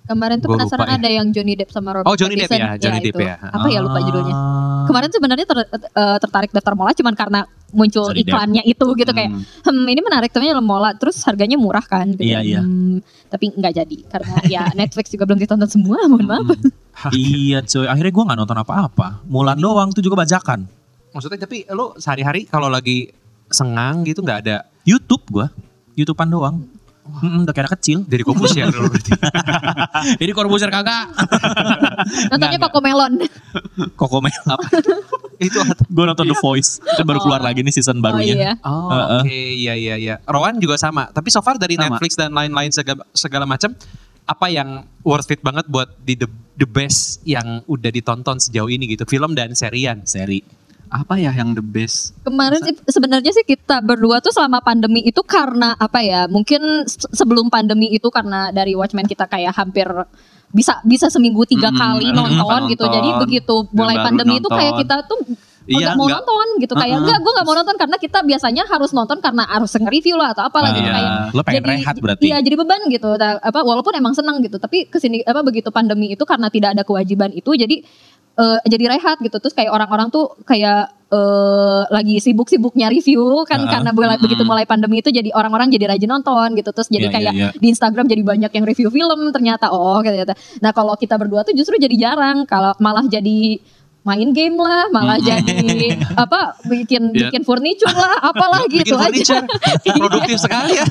Speaker 3: Kemarin tuh
Speaker 1: Gua lupa
Speaker 2: iya.
Speaker 3: penasaran
Speaker 1: ya.
Speaker 3: ada yang Johnny Depp sama Robert
Speaker 1: Oh, Johnny Depp ya,
Speaker 3: Pattinson.
Speaker 1: Johnny Depp
Speaker 3: itu.
Speaker 1: ya.
Speaker 3: Apa ya lupa judulnya?
Speaker 2: Ah.
Speaker 3: Kemarin sebenarnya ter- eh, tertarik daftar mola cuman karena muncul
Speaker 2: Johnny Depp.
Speaker 3: iklannya itu gitu kayak
Speaker 4: Hmm.
Speaker 3: hmm ini menarik tapi mola terus harganya murah kan gitu.
Speaker 2: Iya, iya.
Speaker 3: Hmm, tapi nggak jadi karena ya Netflix juga belum ditonton semua mohon maaf
Speaker 2: iya coy, akhirnya gue nggak nonton apa-apa. Mulan doang tuh juga bajakan.
Speaker 1: Maksudnya tapi lo sehari-hari kalau lagi sengang gitu nggak ada
Speaker 2: YouTube gue, YouTubean doang. Mm-mm, udah kayak anak kecil.
Speaker 1: dari kopus ya lo berarti.
Speaker 2: Jadi Corbuzier kagak.
Speaker 3: nontonnya
Speaker 2: Nggak,
Speaker 3: Coco Melon
Speaker 2: Koko
Speaker 1: Itu
Speaker 2: gue nonton The Voice. Kan baru keluar lagi nih season
Speaker 3: oh
Speaker 2: barunya.
Speaker 3: iya
Speaker 1: Oh,
Speaker 2: Heeh.
Speaker 1: oke, iya iya iya. Rowan juga sama. Tapi so far dari
Speaker 4: Sama.
Speaker 1: Netflix dan lain-lain segala, segala macam apa yang worth it banget buat di the, the best yang udah ditonton sejauh ini gitu. Film dan serian.
Speaker 2: Seri.
Speaker 4: Apa ya yang the best?
Speaker 3: Kemarin sih sebenarnya sih kita berdua tuh selama pandemi itu karena apa ya? Mungkin se- sebelum pandemi itu karena dari Watchmen kita kayak hampir bisa bisa seminggu tiga
Speaker 4: Mm,
Speaker 3: kali
Speaker 4: mm,
Speaker 3: nonton,
Speaker 4: nonton,
Speaker 3: gitu. Jadi begitu mulai
Speaker 4: baru
Speaker 3: pandemi itu
Speaker 4: nonton.
Speaker 3: kayak kita tuh Oh, nggak
Speaker 4: Iya,
Speaker 3: mau
Speaker 4: nggak-
Speaker 3: nonton gitu kayak
Speaker 4: Uh-uh.
Speaker 3: enggak gue nggak mau nonton karena kita biasanya harus nonton karena harus nge-review lah atau apalah
Speaker 4: Iya.
Speaker 3: gitu
Speaker 2: Ah,
Speaker 3: kayak
Speaker 2: Lo pengen rehat berarti.
Speaker 3: Iya jadi beban gitu. Ta- Apa walaupun emang seneng gitu, tapi kesini apa begitu pandemi itu karena tidak ada kewajiban itu jadi eh, jadi rehat gitu. Terus kayak orang-orang tuh kayak eh, lagi sibuk-sibuknya review kan
Speaker 2: Ah,
Speaker 3: karena bela-
Speaker 4: mm.
Speaker 3: begitu mulai pandemi itu jadi orang-orang jadi rajin nonton gitu. Terus jadi
Speaker 2: Iya, iya,
Speaker 3: kayak
Speaker 2: iya.
Speaker 3: di Instagram jadi banyak yang review film ternyata oh ternyata. Nah kalau kita berdua tuh justru jadi jarang kalau malah jadi main game lah, malah jadi apa bikin
Speaker 4: Iya.
Speaker 3: bikin furniture lah, apalah
Speaker 1: Bikin
Speaker 3: gitu aja. Iya.
Speaker 1: furniture. Produktif sekali ya.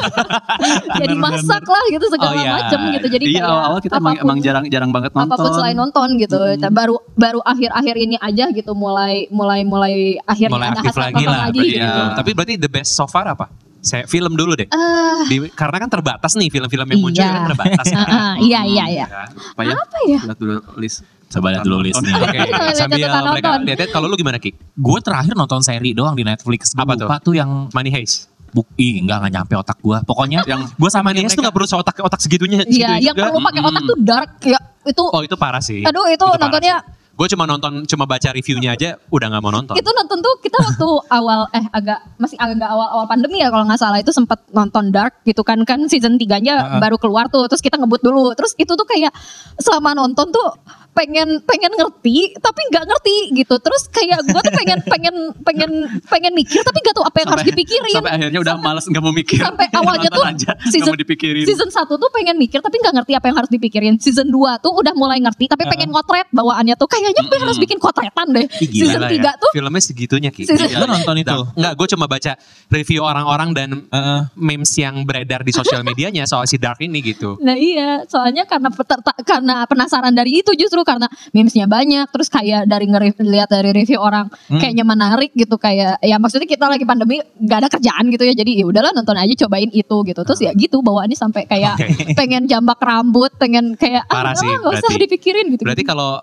Speaker 3: jadi masak Iya, lah gitu segala
Speaker 2: Oh, iya.
Speaker 3: macem gitu jadi
Speaker 4: iya
Speaker 3: kayak
Speaker 4: awal-awal kita emang,
Speaker 3: apapun-
Speaker 4: emang jarang jarang banget nonton.
Speaker 3: apapun selain nonton gitu
Speaker 4: Mm-mm.
Speaker 3: baru baru akhir-akhir ini aja gitu mulai mulai mulai akhirnya
Speaker 1: Mulai
Speaker 3: ada
Speaker 1: aktif
Speaker 3: hasrat
Speaker 1: lagi lah.
Speaker 3: nonton lagi
Speaker 1: berarti
Speaker 3: gitu.
Speaker 4: iya.
Speaker 1: gitu. Tapi berarti the best so far apa? Saya film dulu deh.
Speaker 3: Ah,
Speaker 1: Di- karena kan terbatas nih film-film yang muncul
Speaker 3: Iya.
Speaker 1: kan terbatas.
Speaker 3: ah, ah, iya iya iya
Speaker 4: Apa ya?
Speaker 3: apa ya
Speaker 4: Lihat dulu list.
Speaker 2: Coba lihat dulu list nih.
Speaker 1: Oke,
Speaker 3: Lihat
Speaker 1: sambil
Speaker 3: catatan
Speaker 1: mereka
Speaker 3: nonton.
Speaker 1: lihat kalau lu gimana Ki?
Speaker 2: Gue terakhir nonton seri doang di Netflix. Gua
Speaker 1: Apa
Speaker 2: lupa tuh yang
Speaker 1: Money Heist.
Speaker 2: buk, ih enggak nggak nyampe otak gue. Pokoknya
Speaker 4: Yang
Speaker 2: gue sama
Speaker 1: Money
Speaker 2: dia
Speaker 1: Heist tuh gak perlu otak otak segitunya.
Speaker 3: iya
Speaker 1: segitunya
Speaker 3: yang
Speaker 1: juga.
Speaker 3: perlu pakai otak
Speaker 4: Gitu Mm-mm.
Speaker 3: tuh dark ya itu
Speaker 1: Oh itu parah sih.
Speaker 3: aduh itu, nontonnya
Speaker 1: Gue cuma nonton, cuma baca reviewnya aja, udah nggak mau nonton.
Speaker 3: itu Gitu, nonton tuh kita waktu awal eh agak masih agak awal-awal pandemi ya kalau nggak salah itu sempat nonton Dark gitu kan kan season 3-nya baru keluar tuh terus kita ngebut dulu terus itu tuh kayak selama nonton tuh pengen pengen ngerti tapi nggak ngerti gitu terus kayak gue tuh pengen pengen pengen pengen mikir tapi nggak tahu apa yang harus dipikirin
Speaker 4: Sampai akhirnya udah malas nggak mau mikir.
Speaker 3: Sampai awalnya
Speaker 4: Nonton
Speaker 3: tuh
Speaker 4: aja, nggak
Speaker 3: season-
Speaker 4: mau dipikirin.
Speaker 3: Season 1 tuh pengen mikir tapi nggak ngerti apa yang harus dipikirin. Season 2 tuh udah mulai ngerti tapi pengen ngotret bawaannya tuh kayaknya gue harus bikin kotretan deh.
Speaker 2: Ih, gila
Speaker 3: season
Speaker 1: Gila ya,
Speaker 3: 3 tuh
Speaker 1: filmnya segitunya Ki.
Speaker 3: Season-
Speaker 2: Lo nonton itu.
Speaker 1: Enggak, gue cuma baca review orang-orang dan eh,
Speaker 2: Heeh.
Speaker 1: memes yang beredar di sosial medianya soal si Dark ini gitu.
Speaker 3: Nah iya, soalnya karena peta- ta- karena penasaran dari itu justru seru karena memesnya banyak terus kayak dari ngelihat dari review orang kayaknya menarik gitu kayak ya maksudnya kita lagi pandemi nggak ada kerjaan gitu ya jadi ya udahlah nonton aja cobain itu gitu terus ya gitu bawaannya sampai kayak
Speaker 1: Oke.
Speaker 3: pengen jambak rambut pengen kayak "Ah,
Speaker 1: Parah sih,
Speaker 3: nggak usah
Speaker 1: berarti.
Speaker 3: dipikirin gitu
Speaker 1: Berarti kalau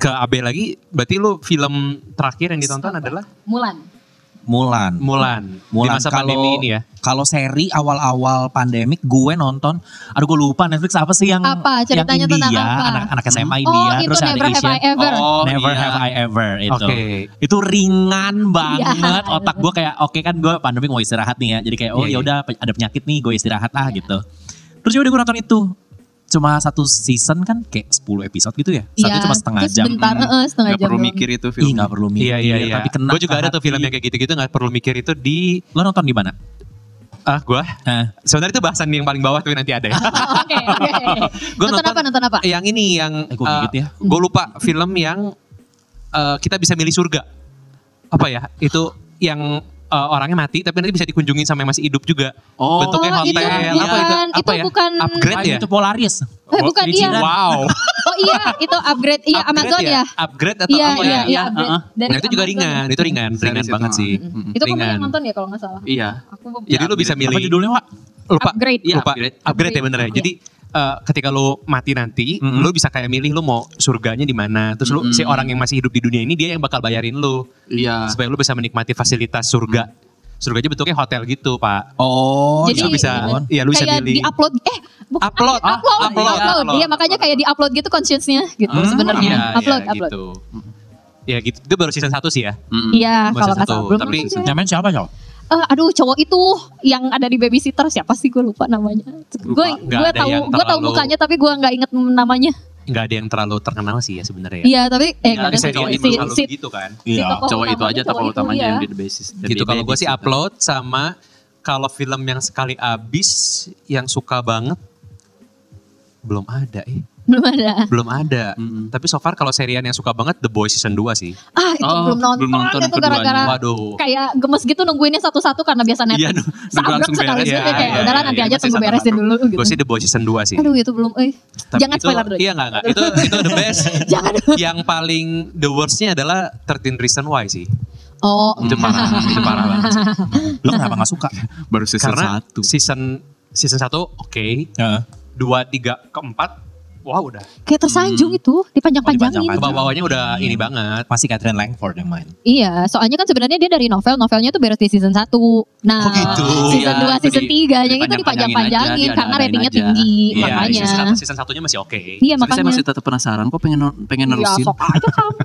Speaker 1: ke AB lagi, berarti lu film terakhir yang ditonton adalah
Speaker 3: Mulan
Speaker 2: Mulan.
Speaker 1: Mulan. Di
Speaker 2: Mulan
Speaker 1: masa
Speaker 2: kalau
Speaker 1: pandemi ini ya.
Speaker 2: kalau seri awal-awal pandemik gue nonton aduh gue lupa Netflix apa sih yang
Speaker 3: Apa? Ceritanya
Speaker 2: yang India,
Speaker 3: tentang apa?
Speaker 2: anak anak SMA
Speaker 3: oh
Speaker 2: India
Speaker 3: itu
Speaker 2: terus ada
Speaker 3: never have
Speaker 2: Asian.
Speaker 3: I ever
Speaker 4: Oh,
Speaker 2: Never
Speaker 4: iya.
Speaker 2: have I ever itu.
Speaker 1: Oke.
Speaker 2: Itu ringan banget
Speaker 3: Iya.
Speaker 2: otak gue kayak oke kan gue pandemi mau istirahat nih ya. Jadi kayak oh
Speaker 1: Iya, iya.
Speaker 2: ya udah pe- ada penyakit nih gue istirahat ah
Speaker 3: Iya.
Speaker 2: gitu. Terus ya udah gue nonton itu. Cuma satu season kan kayak 10 episode gitu ya. Satu
Speaker 3: Iya,
Speaker 2: cuma setengah
Speaker 3: terus
Speaker 2: jam.
Speaker 3: bentar,
Speaker 2: Hmm.
Speaker 3: eh, setengah
Speaker 4: Gak
Speaker 3: jam
Speaker 4: perlu
Speaker 3: doang.
Speaker 4: mikir itu
Speaker 2: Ih
Speaker 4: film.
Speaker 2: gak perlu mikir.
Speaker 1: Iya iya iya.
Speaker 2: Tapi kena
Speaker 1: Gue juga
Speaker 2: ke
Speaker 1: ada tuh
Speaker 2: hati.
Speaker 1: film yang kayak gitu-gitu nggak perlu mikir itu di
Speaker 2: Lo nonton di mana?
Speaker 1: ah gua.
Speaker 2: Eh,
Speaker 1: Sebenarnya itu bahasan yang paling bawah tapi nanti ada ya.
Speaker 3: Oh, Oke, oke.
Speaker 1: Gua
Speaker 3: nonton,
Speaker 1: nonton-
Speaker 3: apa? Nonton apa?
Speaker 1: yang ini yang
Speaker 2: Eh, gua gigit ya.
Speaker 1: gue lupa film yang eh, kita bisa milih surga. Apa ya? Itu yang eh, orangnya mati tapi nanti bisa dikunjungin sama yang masih hidup juga.
Speaker 4: Oh.
Speaker 1: Bentuknya
Speaker 3: Oh, itu
Speaker 1: hotel apa itu?
Speaker 3: bukan-
Speaker 1: Apa
Speaker 3: itu
Speaker 1: ya?
Speaker 3: bukan-
Speaker 1: upgrade ya?
Speaker 2: itu Polaris.
Speaker 3: Eh, bukan
Speaker 2: Di
Speaker 3: iya.
Speaker 2: Cina.
Speaker 1: Wow.
Speaker 3: Oh iya, itu upgrade iya
Speaker 1: Upgrade
Speaker 3: Amazon ya.
Speaker 1: Upgrade atau
Speaker 3: Iya,
Speaker 1: apa
Speaker 3: iya,
Speaker 1: ya?
Speaker 3: iya. upgrade.
Speaker 4: uh-uh.
Speaker 3: Dari
Speaker 1: Nah, itu juga
Speaker 3: Amazon. ya.
Speaker 1: ringan, itu ringan,
Speaker 4: Serius
Speaker 1: ringan
Speaker 4: itu,
Speaker 1: banget
Speaker 4: ah.
Speaker 1: sih.
Speaker 4: Mm-mm.
Speaker 3: Itu kamu yang
Speaker 1: Ringan.
Speaker 3: nonton ya kalau nggak salah.
Speaker 4: Iya.
Speaker 3: Aku
Speaker 1: Jadi lu bisa
Speaker 2: Apa
Speaker 1: milih
Speaker 2: judulnya, Wak?
Speaker 1: lupa
Speaker 3: Upgrade.
Speaker 1: Iya, lupa.
Speaker 4: Upgrade.
Speaker 1: Upgrade, ya bener ya.
Speaker 3: Upgrade.
Speaker 1: Jadi eh, ketika lu mati nanti,
Speaker 2: Mm-mm.
Speaker 1: lu bisa kayak milih lu mau surganya di mana. Terus lu
Speaker 4: Mm-mm.
Speaker 1: si orang yang masih hidup di dunia ini dia yang bakal bayarin lu
Speaker 4: Iya.
Speaker 1: supaya lu bisa menikmati fasilitas surga. Surganya bentuknya hotel gitu, Pak.
Speaker 2: Oh,
Speaker 3: Jadi-
Speaker 1: Terus lu bisa
Speaker 2: iya.
Speaker 1: iya lu bisa
Speaker 3: kayak
Speaker 1: milih.
Speaker 3: di upload eh bukan
Speaker 1: Upload,
Speaker 3: upload upload,
Speaker 1: ah, upload,
Speaker 3: upload.
Speaker 1: upload.
Speaker 3: Iya makanya kayak di upload gitu conscience-nya gitu
Speaker 1: Hmm,
Speaker 3: sebenarnya.
Speaker 1: iya,
Speaker 3: upload
Speaker 1: iya,
Speaker 3: upload.
Speaker 1: Gitu. Ya gitu. Itu baru season 1 sih ya.
Speaker 4: Mm-mm.
Speaker 3: Iya
Speaker 1: Masih
Speaker 3: kalau nggak
Speaker 1: satu,
Speaker 3: salah belum
Speaker 1: tapi-
Speaker 3: nonton saya.
Speaker 2: Nyamen siapa, Cok?
Speaker 3: Eh, aduh cowok itu yang ada di babysitter siapa sih gue lupa namanya. Gue
Speaker 1: nggak
Speaker 3: gue
Speaker 1: ada
Speaker 3: tahu
Speaker 1: yang
Speaker 3: gue tahu
Speaker 1: terlalu-
Speaker 3: mukanya tapi gue nggak inget namanya.
Speaker 1: Nggak ada yang terlalu terkenal sih ya sebenarnya ya.
Speaker 3: Iya tapi eh nggak
Speaker 1: Tapi
Speaker 3: ada
Speaker 1: saya
Speaker 3: si-
Speaker 1: kalau
Speaker 3: si-
Speaker 1: selalu
Speaker 3: si-
Speaker 1: gitu kan.
Speaker 3: si
Speaker 2: Iya.
Speaker 3: tokoh
Speaker 4: Cowok itu
Speaker 3: utamanya
Speaker 4: aja
Speaker 3: cowok
Speaker 4: tokoh
Speaker 3: itu,
Speaker 4: utamanya
Speaker 3: iya.
Speaker 4: yang di the basis. the
Speaker 1: gitu kalau gue
Speaker 4: basis.
Speaker 1: sih upload sama kalau film yang sekali abis yang suka banget belum ada eh
Speaker 3: belum ada.
Speaker 1: belum ada
Speaker 4: Mm-mm.
Speaker 1: tapi so far kalau serian yang suka banget The Boys season 2 sih
Speaker 3: Ah itu
Speaker 4: Oh,
Speaker 3: belum nonton,
Speaker 4: belum nonton
Speaker 3: itu
Speaker 4: keduanya.
Speaker 3: gara-gara
Speaker 1: waduh
Speaker 3: Ah, kayak gemes gitu nungguinnya satu-satu karena biasa Netflix.
Speaker 4: Iya, nunggu
Speaker 3: Sabrek
Speaker 4: langsung
Speaker 3: sekali
Speaker 4: beres.
Speaker 3: gitu
Speaker 4: Iya,
Speaker 3: kayak
Speaker 4: iya,
Speaker 3: udahlah
Speaker 1: iya,
Speaker 3: nanti
Speaker 1: iya,
Speaker 3: aja
Speaker 1: masih
Speaker 3: tunggu
Speaker 1: satu
Speaker 3: beresin
Speaker 1: satu.
Speaker 3: dulu gitu.
Speaker 1: gue sih The Boys season 2 sih
Speaker 3: Aduh itu belum eh
Speaker 1: Tapi
Speaker 3: jangan
Speaker 1: itu-
Speaker 3: spoiler dulu.
Speaker 1: iya enggak enggak itu itu the best
Speaker 3: Jangan.
Speaker 1: yang paling the worstnya adalah 13 Reason Why sih
Speaker 3: Oh,
Speaker 1: itu parah itu parah banget sih.
Speaker 2: Lo kenapa gak suka?
Speaker 4: baru season
Speaker 1: karena
Speaker 4: 1.
Speaker 3: Iya,
Speaker 1: season season 1 oke
Speaker 2: Heeh.
Speaker 1: 2 3 keempat wah udah
Speaker 3: kayak tersanjung itu dipanjang-panjangin.
Speaker 2: dipanjang-panjang.
Speaker 1: bawah-bawahnya udah
Speaker 4: Iya.
Speaker 1: ini banget
Speaker 2: Masih Catherine Langford yang main.
Speaker 3: Iya, soalnya kan sebenarnya dia dari novel, novelnya tuh beres di season 1. Nah,
Speaker 1: Oh gitu.
Speaker 3: season 2,
Speaker 4: Iya, itu
Speaker 3: season
Speaker 4: di-
Speaker 3: 3 yang itu
Speaker 4: dipanjang-panjangin aja,
Speaker 3: dipanjang-panjangin
Speaker 4: diada-adain
Speaker 3: karena ratingnya
Speaker 4: aja.
Speaker 3: tinggi
Speaker 1: Iya,
Speaker 3: makanya.
Speaker 1: season, satu, season satunya masih oke.
Speaker 3: Iya,
Speaker 4: Tapi saya
Speaker 3: makanya.
Speaker 4: masih tetap penasaran kok pengen no- pengen
Speaker 3: Ya,
Speaker 4: nerusin.
Speaker 3: sok aja kamu.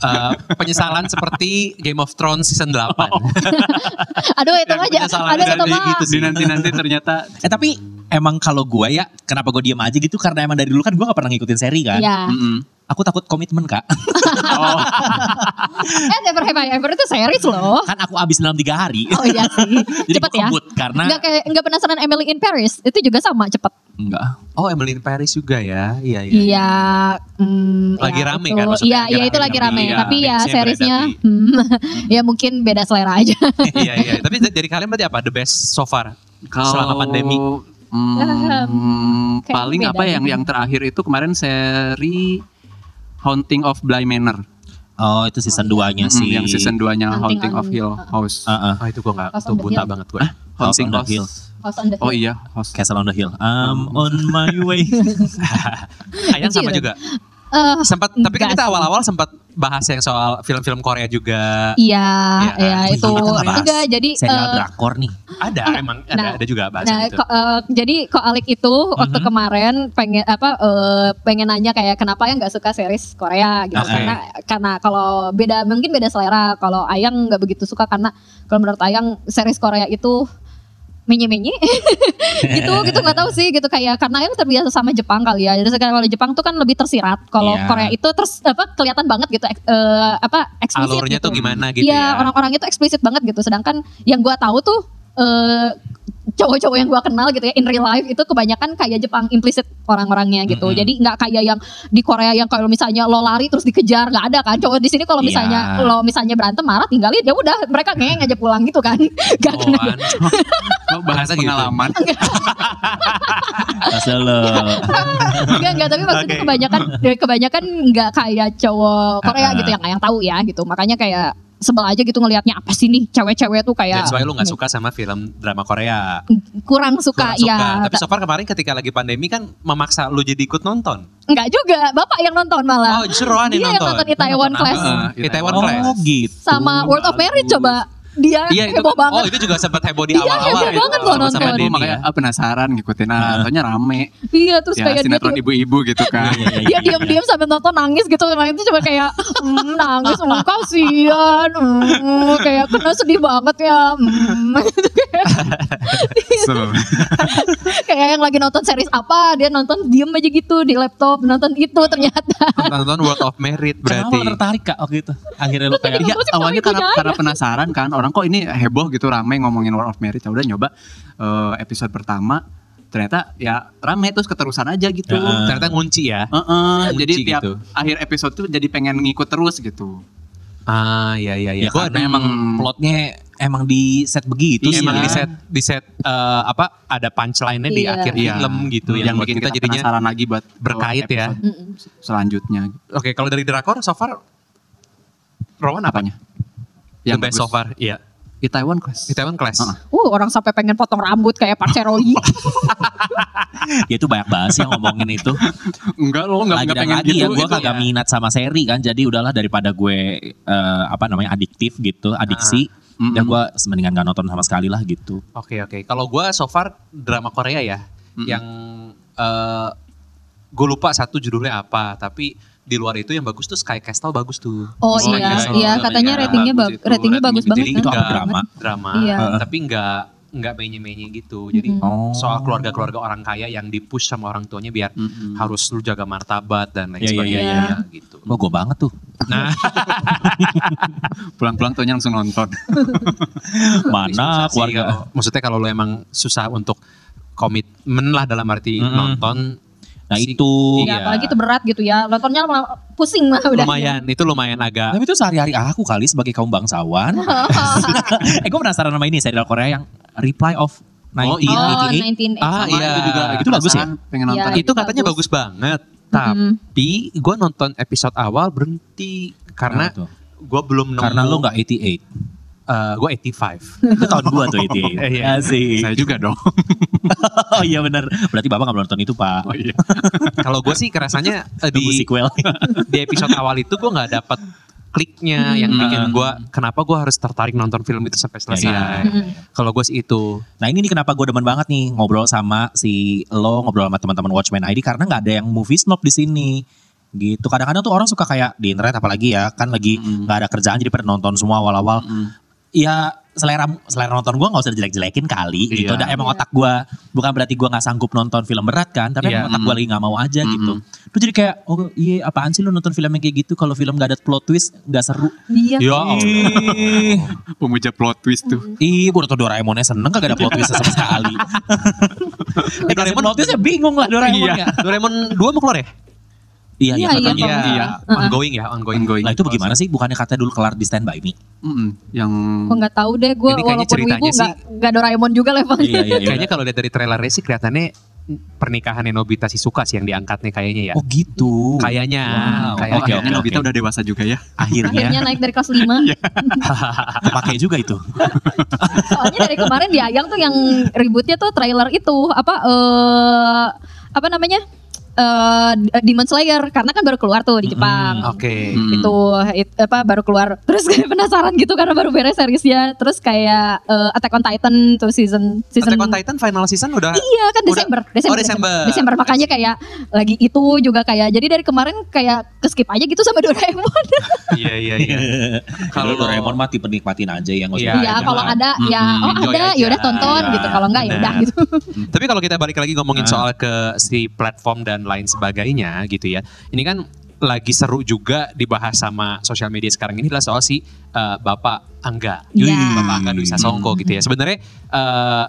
Speaker 1: Eh, penyesalan seperti Game of Thrones season 8.
Speaker 4: Oh.
Speaker 3: Aduh, itu aja.
Speaker 1: penyesalan
Speaker 3: Aduh,
Speaker 1: dari
Speaker 3: itu mah.
Speaker 1: gitu
Speaker 4: Di nanti-nanti ternyata
Speaker 3: Iya.
Speaker 2: Eh tapi emang kalau gue ya, kenapa gue diem aja gitu? Karena emang dari dulu kan gue gak pernah ngikutin seri kan.
Speaker 3: Iya.
Speaker 4: Mm-mm.
Speaker 2: Aku takut komitmen kak.
Speaker 3: Oh. Eh, Never Have I Ever itu series loh.
Speaker 2: kan aku abis dalam tiga hari.
Speaker 3: Oh iya sih.
Speaker 2: Jadi
Speaker 3: Cepet
Speaker 2: gue
Speaker 3: ya.
Speaker 2: kebut Nah. karena
Speaker 3: Enggak kayak enggak penasaran Emily in Paris. Itu juga sama cepet.
Speaker 4: Enggak.
Speaker 1: Oh, Emily in Paris juga ya. Iya, iya.
Speaker 3: Iya, mm,
Speaker 1: Lagi
Speaker 3: ya,
Speaker 1: rame
Speaker 3: itu.
Speaker 1: kan maksudnya,
Speaker 3: Iya,
Speaker 1: lagi
Speaker 3: iya itu
Speaker 1: rame,
Speaker 3: lagi
Speaker 1: rame.
Speaker 3: rame.
Speaker 4: Iya,
Speaker 3: Tapi ya
Speaker 1: mixnya
Speaker 3: seriesnya,
Speaker 1: beredar
Speaker 3: hmm, ya mungkin beda selera aja.
Speaker 1: iya, iya. Tapi da- dari kalian berarti apa? The best so far selama pandemi.
Speaker 4: Hmm,
Speaker 3: Kayak
Speaker 4: paling
Speaker 3: beda
Speaker 4: apa yang
Speaker 3: gitu.
Speaker 4: yang terakhir itu kemarin seri Haunting of Bly Manor.
Speaker 2: oh itu season 2-nya
Speaker 4: Mm,
Speaker 2: sih.
Speaker 4: yang season 2-nya
Speaker 3: Haunting
Speaker 4: Haunting,
Speaker 3: on-
Speaker 4: of Hill House.
Speaker 2: Heeh.
Speaker 1: Oh, itu gue gak,
Speaker 3: House
Speaker 1: itu
Speaker 3: on the
Speaker 1: buta
Speaker 3: Hill.
Speaker 1: banget gue.
Speaker 2: House on the Hill.
Speaker 3: House on the
Speaker 4: Oh
Speaker 3: Hill.
Speaker 4: iya, House.
Speaker 2: Castle on the Hill. I'm on my way.
Speaker 1: Ayang sama
Speaker 3: Lucu
Speaker 1: juga.
Speaker 3: ya? Eh,
Speaker 1: Sempat, tapi kan kita
Speaker 3: enggak sih.
Speaker 1: awal-awal sempat bahas yang soal film-film Korea juga.
Speaker 3: Iya,
Speaker 1: Iya,
Speaker 3: iya
Speaker 1: kan?
Speaker 3: itu
Speaker 2: Kita nggak bahas
Speaker 3: enggak jadi
Speaker 2: Serial
Speaker 3: eh,
Speaker 2: drakor nih.
Speaker 1: Ada, emang ada,
Speaker 3: Nah,
Speaker 1: ada juga bahasan
Speaker 3: Nah,
Speaker 1: itu.
Speaker 3: ko- eh, jadi kok Alik itu waktu
Speaker 1: Mm-hmm.
Speaker 2: Mhm.
Speaker 3: kemarin pengen apa eh, pengen nanya kayak kenapa yang nggak suka series Korea gitu
Speaker 2: Oke.
Speaker 3: karena karena kalau beda mungkin beda selera kalau Ayang nggak begitu suka karena kalau menurut Ayang series Korea itu menye-menye gitu gitu nggak tahu sih gitu kayak karena Ayang terbiasa sama Jepang kali ya jadi sekarang kalau Jepang tuh kan lebih tersirat kalau
Speaker 2: Iya.
Speaker 3: Korea itu terus apa kelihatan banget gitu eks- eh, apa eksplisit
Speaker 1: Alurnya
Speaker 3: gitu.
Speaker 1: tuh gimana gitu ya.
Speaker 3: Iya, orang-orang itu eksplisit banget gitu. Sedangkan yang gua tahu tuh eh cowok-cowok yang gua kenal gitu ya in real life itu kebanyakan kayak Jepang implisit orang-orangnya gitu.
Speaker 2: Mm-mm.
Speaker 3: Jadi nggak kayak yang di Korea yang kalau misalnya lo lari terus dikejar nggak ada kan. Cowok di sini kalau misalnya
Speaker 2: Iya.
Speaker 1: Oh,
Speaker 3: lo misalnya berantem marah tinggalin ya udah mereka ngeyeng aja pulang gitu kan. Gak kena
Speaker 1: Bawaan.
Speaker 4: Lo bahasa
Speaker 1: gitu.
Speaker 4: pengalaman.
Speaker 2: Asal
Speaker 3: enggak enggak tapi maksudnya
Speaker 1: Oke.
Speaker 3: kebanyakan ya kebanyakan enggak kayak cowok Korea
Speaker 2: Ah, ah.
Speaker 3: gitu yang yang tahu ya gitu makanya kayak sebel aja gitu ngelihatnya apa sih nih cewek-cewek tuh kayak
Speaker 1: That's why lu gak suka sama film drama Korea.
Speaker 3: kurang
Speaker 1: Kurang
Speaker 3: suka,
Speaker 1: suka.
Speaker 3: ya
Speaker 1: Tapi so far kemarin ketika lagi pandemi kan memaksa lu jadi ikut nonton.
Speaker 3: enggak juga bapak yang nonton
Speaker 1: Oh
Speaker 3: malah
Speaker 1: justru Rohan
Speaker 3: dia
Speaker 1: yang
Speaker 3: iya, yang
Speaker 1: nonton. Ah.
Speaker 3: nonton Itaewon
Speaker 2: nonton
Speaker 3: Class
Speaker 4: apa?
Speaker 1: Di Taiwan
Speaker 4: Oh,
Speaker 1: Class.
Speaker 2: Oh gitu.
Speaker 3: sama World of Marriage
Speaker 4: bagus.
Speaker 3: coba dia
Speaker 1: Iya itu
Speaker 3: heboh
Speaker 1: kan-
Speaker 3: banget
Speaker 1: Oh itu juga sempat heboh di
Speaker 3: Iya,
Speaker 1: awal-awal. gitu.
Speaker 3: heboh banget loh
Speaker 1: sama-sama
Speaker 3: nonton.
Speaker 1: Denny
Speaker 4: Gue makanya
Speaker 1: ya.
Speaker 4: ah, penasaran ngikutin
Speaker 2: Ah.
Speaker 4: ah, soalnya rame.
Speaker 3: iya terus
Speaker 4: Ya
Speaker 3: kayak dia
Speaker 4: sinetron
Speaker 3: tuh-
Speaker 4: ibu-ibu gitu kan.
Speaker 2: Iya, iya,
Speaker 3: dia
Speaker 2: iya, iya.
Speaker 3: diam-diam sambil nonton nangis gitu emang itu cuma kayak "Hmm, nangis hmm, kasihan hmm, kayak kena sedih banget ya hmm."
Speaker 4: Seru.
Speaker 3: kayak yang lagi nonton series apa dia nonton diem aja gitu di laptop nonton itu ternyata
Speaker 1: Nonton World of Merit
Speaker 2: Berarti. Kenapa lo
Speaker 1: berarti.
Speaker 2: tertarik kak waktu itu? Akhirnya lo kayak
Speaker 4: Iya,
Speaker 3: Kenapa sih
Speaker 4: awalnya
Speaker 3: kalau
Speaker 4: karena
Speaker 3: ibunya
Speaker 4: karena penasaran kan orang kok ini heboh gitu rame ngomongin War of Marriage. Ya Udah nyoba eh, episode pertama ternyata ya rame terus keterusan aja gitu.
Speaker 2: Ya, eh.
Speaker 1: Ternyata ngunci ya.
Speaker 4: Heeh,
Speaker 1: Kunci
Speaker 4: jadi tiap
Speaker 1: gitu.
Speaker 4: akhir episode tuh jadi pengen ngikut terus gitu.
Speaker 1: Ah iya iya iya.
Speaker 2: Ya,
Speaker 1: Gua ada-
Speaker 2: karena emang plotnya emang di set begitu
Speaker 1: Iya,
Speaker 2: sih.
Speaker 1: emang
Speaker 2: ya.
Speaker 1: di set di set eh, apa ada punchline-nya di
Speaker 3: Iya.
Speaker 1: akhir
Speaker 4: Iya.
Speaker 1: film gitu yang,
Speaker 4: yang
Speaker 1: buat
Speaker 4: bikin
Speaker 1: kita,
Speaker 4: kita,
Speaker 1: jadinya
Speaker 4: penasaran lagi buat
Speaker 1: berkait ya.
Speaker 4: episode
Speaker 3: Hmm.
Speaker 4: Selanjutnya
Speaker 1: Oke, kalau dari drakor so far Rowan apa?
Speaker 4: apanya?
Speaker 1: Yang The best so far, iya.
Speaker 4: di Taiwan Class.
Speaker 1: Itaewon Class.
Speaker 4: Heeh.
Speaker 3: uh orang sampai pengen potong rambut kayak Parceroi
Speaker 2: Ya itu banyak banget sih yang ngomongin itu.
Speaker 4: Enggak lo enggak
Speaker 2: lagi
Speaker 4: enggak
Speaker 2: dan
Speaker 4: pengen
Speaker 2: lagi
Speaker 4: gitu.
Speaker 2: ya gue
Speaker 4: itu
Speaker 2: kagak
Speaker 4: ya.
Speaker 2: minat sama seri kan. Jadi udahlah daripada gue eh, apa namanya adiktif gitu, adiksi.
Speaker 4: Mm-mm.
Speaker 2: Ya gue mendingan gak nonton sama sekali lah gitu.
Speaker 1: Oke oke. Kalau gua so far drama Korea ya,
Speaker 4: Mm-mm.
Speaker 1: yang eh gue lupa satu judulnya apa, tapi di luar itu yang bagus tuh Sky Castle bagus tuh.
Speaker 3: oh
Speaker 4: Oh,
Speaker 3: iya
Speaker 4: iya,
Speaker 3: iya
Speaker 4: iya,
Speaker 3: katanya
Speaker 4: iya,
Speaker 3: ratingnya
Speaker 4: bagus
Speaker 3: bag-
Speaker 4: itu,
Speaker 3: ratingnya
Speaker 4: ratingnya
Speaker 3: bagus
Speaker 4: gede.
Speaker 3: banget
Speaker 2: Jadi itu
Speaker 3: kan
Speaker 2: apa
Speaker 1: Enggak.
Speaker 2: drama?
Speaker 1: Drama,
Speaker 3: Iya.
Speaker 1: tapi nggak nggak menye-menye gitu. Jadi
Speaker 3: Mm-mm.
Speaker 2: Oh.
Speaker 1: soal keluarga-keluarga orang kaya yang dipush sama orang tuanya biar
Speaker 4: Mm-mm.
Speaker 1: harus lu jaga martabat dan lain
Speaker 2: Iya, iya,
Speaker 1: sebagainya
Speaker 3: iya,
Speaker 1: gitu.
Speaker 2: Wah gue banget tuh.
Speaker 1: Nah,
Speaker 4: pulang-pulang tuhnya langsung nonton.
Speaker 1: Susah sih
Speaker 2: Mana
Speaker 1: ya.
Speaker 2: keluarga.
Speaker 1: kalau- iya. maksudnya kalau lu emang susah untuk komitmen lah dalam arti
Speaker 2: Mm-mm.
Speaker 1: nonton
Speaker 2: Nah
Speaker 1: sih.
Speaker 2: itu.
Speaker 1: Iya.
Speaker 3: Iya, apalagi itu berat gitu ya. Nontonnya malah pusing lah udah.
Speaker 1: lumayan itu lumayan agak
Speaker 2: Tapi itu sehari-hari aku kali sebagai kaum bangsawan. eh gue penasaran sama ini serial Korea yang Reply of 1988.
Speaker 1: Oh, iya.
Speaker 3: Oh, 19
Speaker 1: Ah,
Speaker 4: Sama
Speaker 1: iya.
Speaker 4: itu juga
Speaker 1: Itu
Speaker 4: itu bagus ya. Pengen
Speaker 3: Iya.
Speaker 4: nonton.
Speaker 1: itu katanya bagus, banget
Speaker 3: Hmm,
Speaker 1: tapi gue nonton episode awal berhenti karena
Speaker 2: Kenapa tuh?
Speaker 1: gue belum nemu
Speaker 2: Nah,
Speaker 1: eh,
Speaker 2: karena lo nggak Iya 88.
Speaker 1: gue 85
Speaker 2: Itu tahun gua tuh 88.
Speaker 1: Iya.
Speaker 2: Asik.
Speaker 4: Saya juga dong.
Speaker 2: Oh iya benar. Berarti Bapak nggak nonton itu, Pak.
Speaker 4: Oh iya.
Speaker 1: kalau gue sih kerasanya eh,
Speaker 2: Tunggu
Speaker 1: di
Speaker 2: sequel.
Speaker 1: di episode awal itu gue nggak dapet kliknya yang bikin gue kenapa gue harus tertarik nonton film itu sampai selesai
Speaker 2: Iya.
Speaker 3: hmm.
Speaker 1: kalau gue sih itu
Speaker 2: Nah ini nih kenapa gue demen banget nih ngobrol sama si lo ngobrol sama teman-teman Watchmen ID karena nggak ada yang movie snob di sini gitu kadang-kadang tuh orang suka kayak di internet apalagi ya kan lagi nggak
Speaker 4: Mm.
Speaker 2: ada kerjaan jadi pada nonton semua awal-awal
Speaker 4: Mm.
Speaker 2: ya selera selera nonton gue nggak usah jelek-jelekin kali gitu
Speaker 4: Iya.
Speaker 2: dan emang
Speaker 3: Iya.
Speaker 2: otak gue bukan berarti gue nggak sanggup nonton film berat kan tapi
Speaker 1: Iya.
Speaker 2: emang otak gue lagi nggak mau aja
Speaker 4: Mm.
Speaker 2: gitu terus jadi kayak oh iya apaan sih lo nonton film yang kayak gitu kalau film nggak ada plot twist nggak seru
Speaker 3: Iya.
Speaker 1: Ya Allah.
Speaker 2: Ih.
Speaker 4: Pemuja plot twist tuh.
Speaker 2: Ih, gue nonton Doraemonnya seneng kagak ada plot twist sama sekali. eh, Doraemon plot twistnya bingung lah
Speaker 3: Oh,
Speaker 2: Doraemon ya.
Speaker 1: Doraemon 2 mau keluar ya?
Speaker 2: Iya,
Speaker 3: Iya,
Speaker 2: iya.
Speaker 3: iya,
Speaker 2: katanya.
Speaker 3: Pak.
Speaker 1: Iya, ongoing ya, ongoing.
Speaker 4: Ongoing.
Speaker 2: Lah itu bagaimana sih? Bukannya katanya dulu kelar di Stand By Me.
Speaker 4: Mm-mm. Yang
Speaker 3: Gue nggak tahu deh gue
Speaker 1: Hmm. Ini kayaknya
Speaker 3: walaupun wibu
Speaker 1: ceritanya
Speaker 3: nggak nggak Doraemon juga levelnya.
Speaker 2: Iya, iya,
Speaker 1: Kayaknya kalau lihat dari trailernya sih kelihatannya pernikahan Nobita Shizuka sih yang diangkatnya kayaknya ya.
Speaker 2: Oh gitu.
Speaker 1: Kayaknya,
Speaker 2: Wow.
Speaker 1: kayaknya.
Speaker 2: Oke, oke,
Speaker 4: Oh, akhirnya Nobita
Speaker 2: oke.
Speaker 4: udah dewasa juga ya.
Speaker 2: Akhirnya
Speaker 3: Akhirnya naik dari kelas 5
Speaker 1: Iya.
Speaker 2: kepake juga itu.
Speaker 3: Soalnya dari kemarin di Ayang tuh yang ributnya tuh trailer itu apa eh apa namanya? eh Demon Slayer karena kan baru keluar tuh di Jepang.
Speaker 1: Hmm,
Speaker 3: Hmm.
Speaker 1: Oke.
Speaker 4: Mm.
Speaker 3: Itu it- apa baru keluar terus kayak penasaran gitu karena baru beres seriesnya. Terus kayak eh, Attack on Titan tuh season season
Speaker 1: Attack on Titan final season udah
Speaker 3: Iya kan
Speaker 1: Udah-
Speaker 3: Desember,
Speaker 1: oh, Desember.
Speaker 3: Desember makanya kayak lagi itu juga kayak jadi dari kemarin kayak keskip aja gitu sama Doraemon.
Speaker 1: Iya iya iya.
Speaker 2: Kalau Doraemon mati penikmatin aja ya, yang
Speaker 1: Iya,
Speaker 3: Iya kalau ada ya
Speaker 4: Mm,
Speaker 3: oh
Speaker 1: enjoy
Speaker 3: ada
Speaker 1: aja.
Speaker 3: ya udah tonton
Speaker 1: Iya,
Speaker 3: gitu. Kalau enggak ya udah
Speaker 1: benar.
Speaker 3: gitu.
Speaker 1: Tapi kalau kita balik lagi ngomongin
Speaker 2: Ah.
Speaker 1: soal ke si platform dan lain sebagainya gitu ya. Ini kan lagi seru juga dibahas sama sosial media sekarang ini adalah soal si eh, Bapak Angga.
Speaker 3: Iya.
Speaker 1: Bapak Angga Dwi Sasongko gitu ya. Sebenarnya eh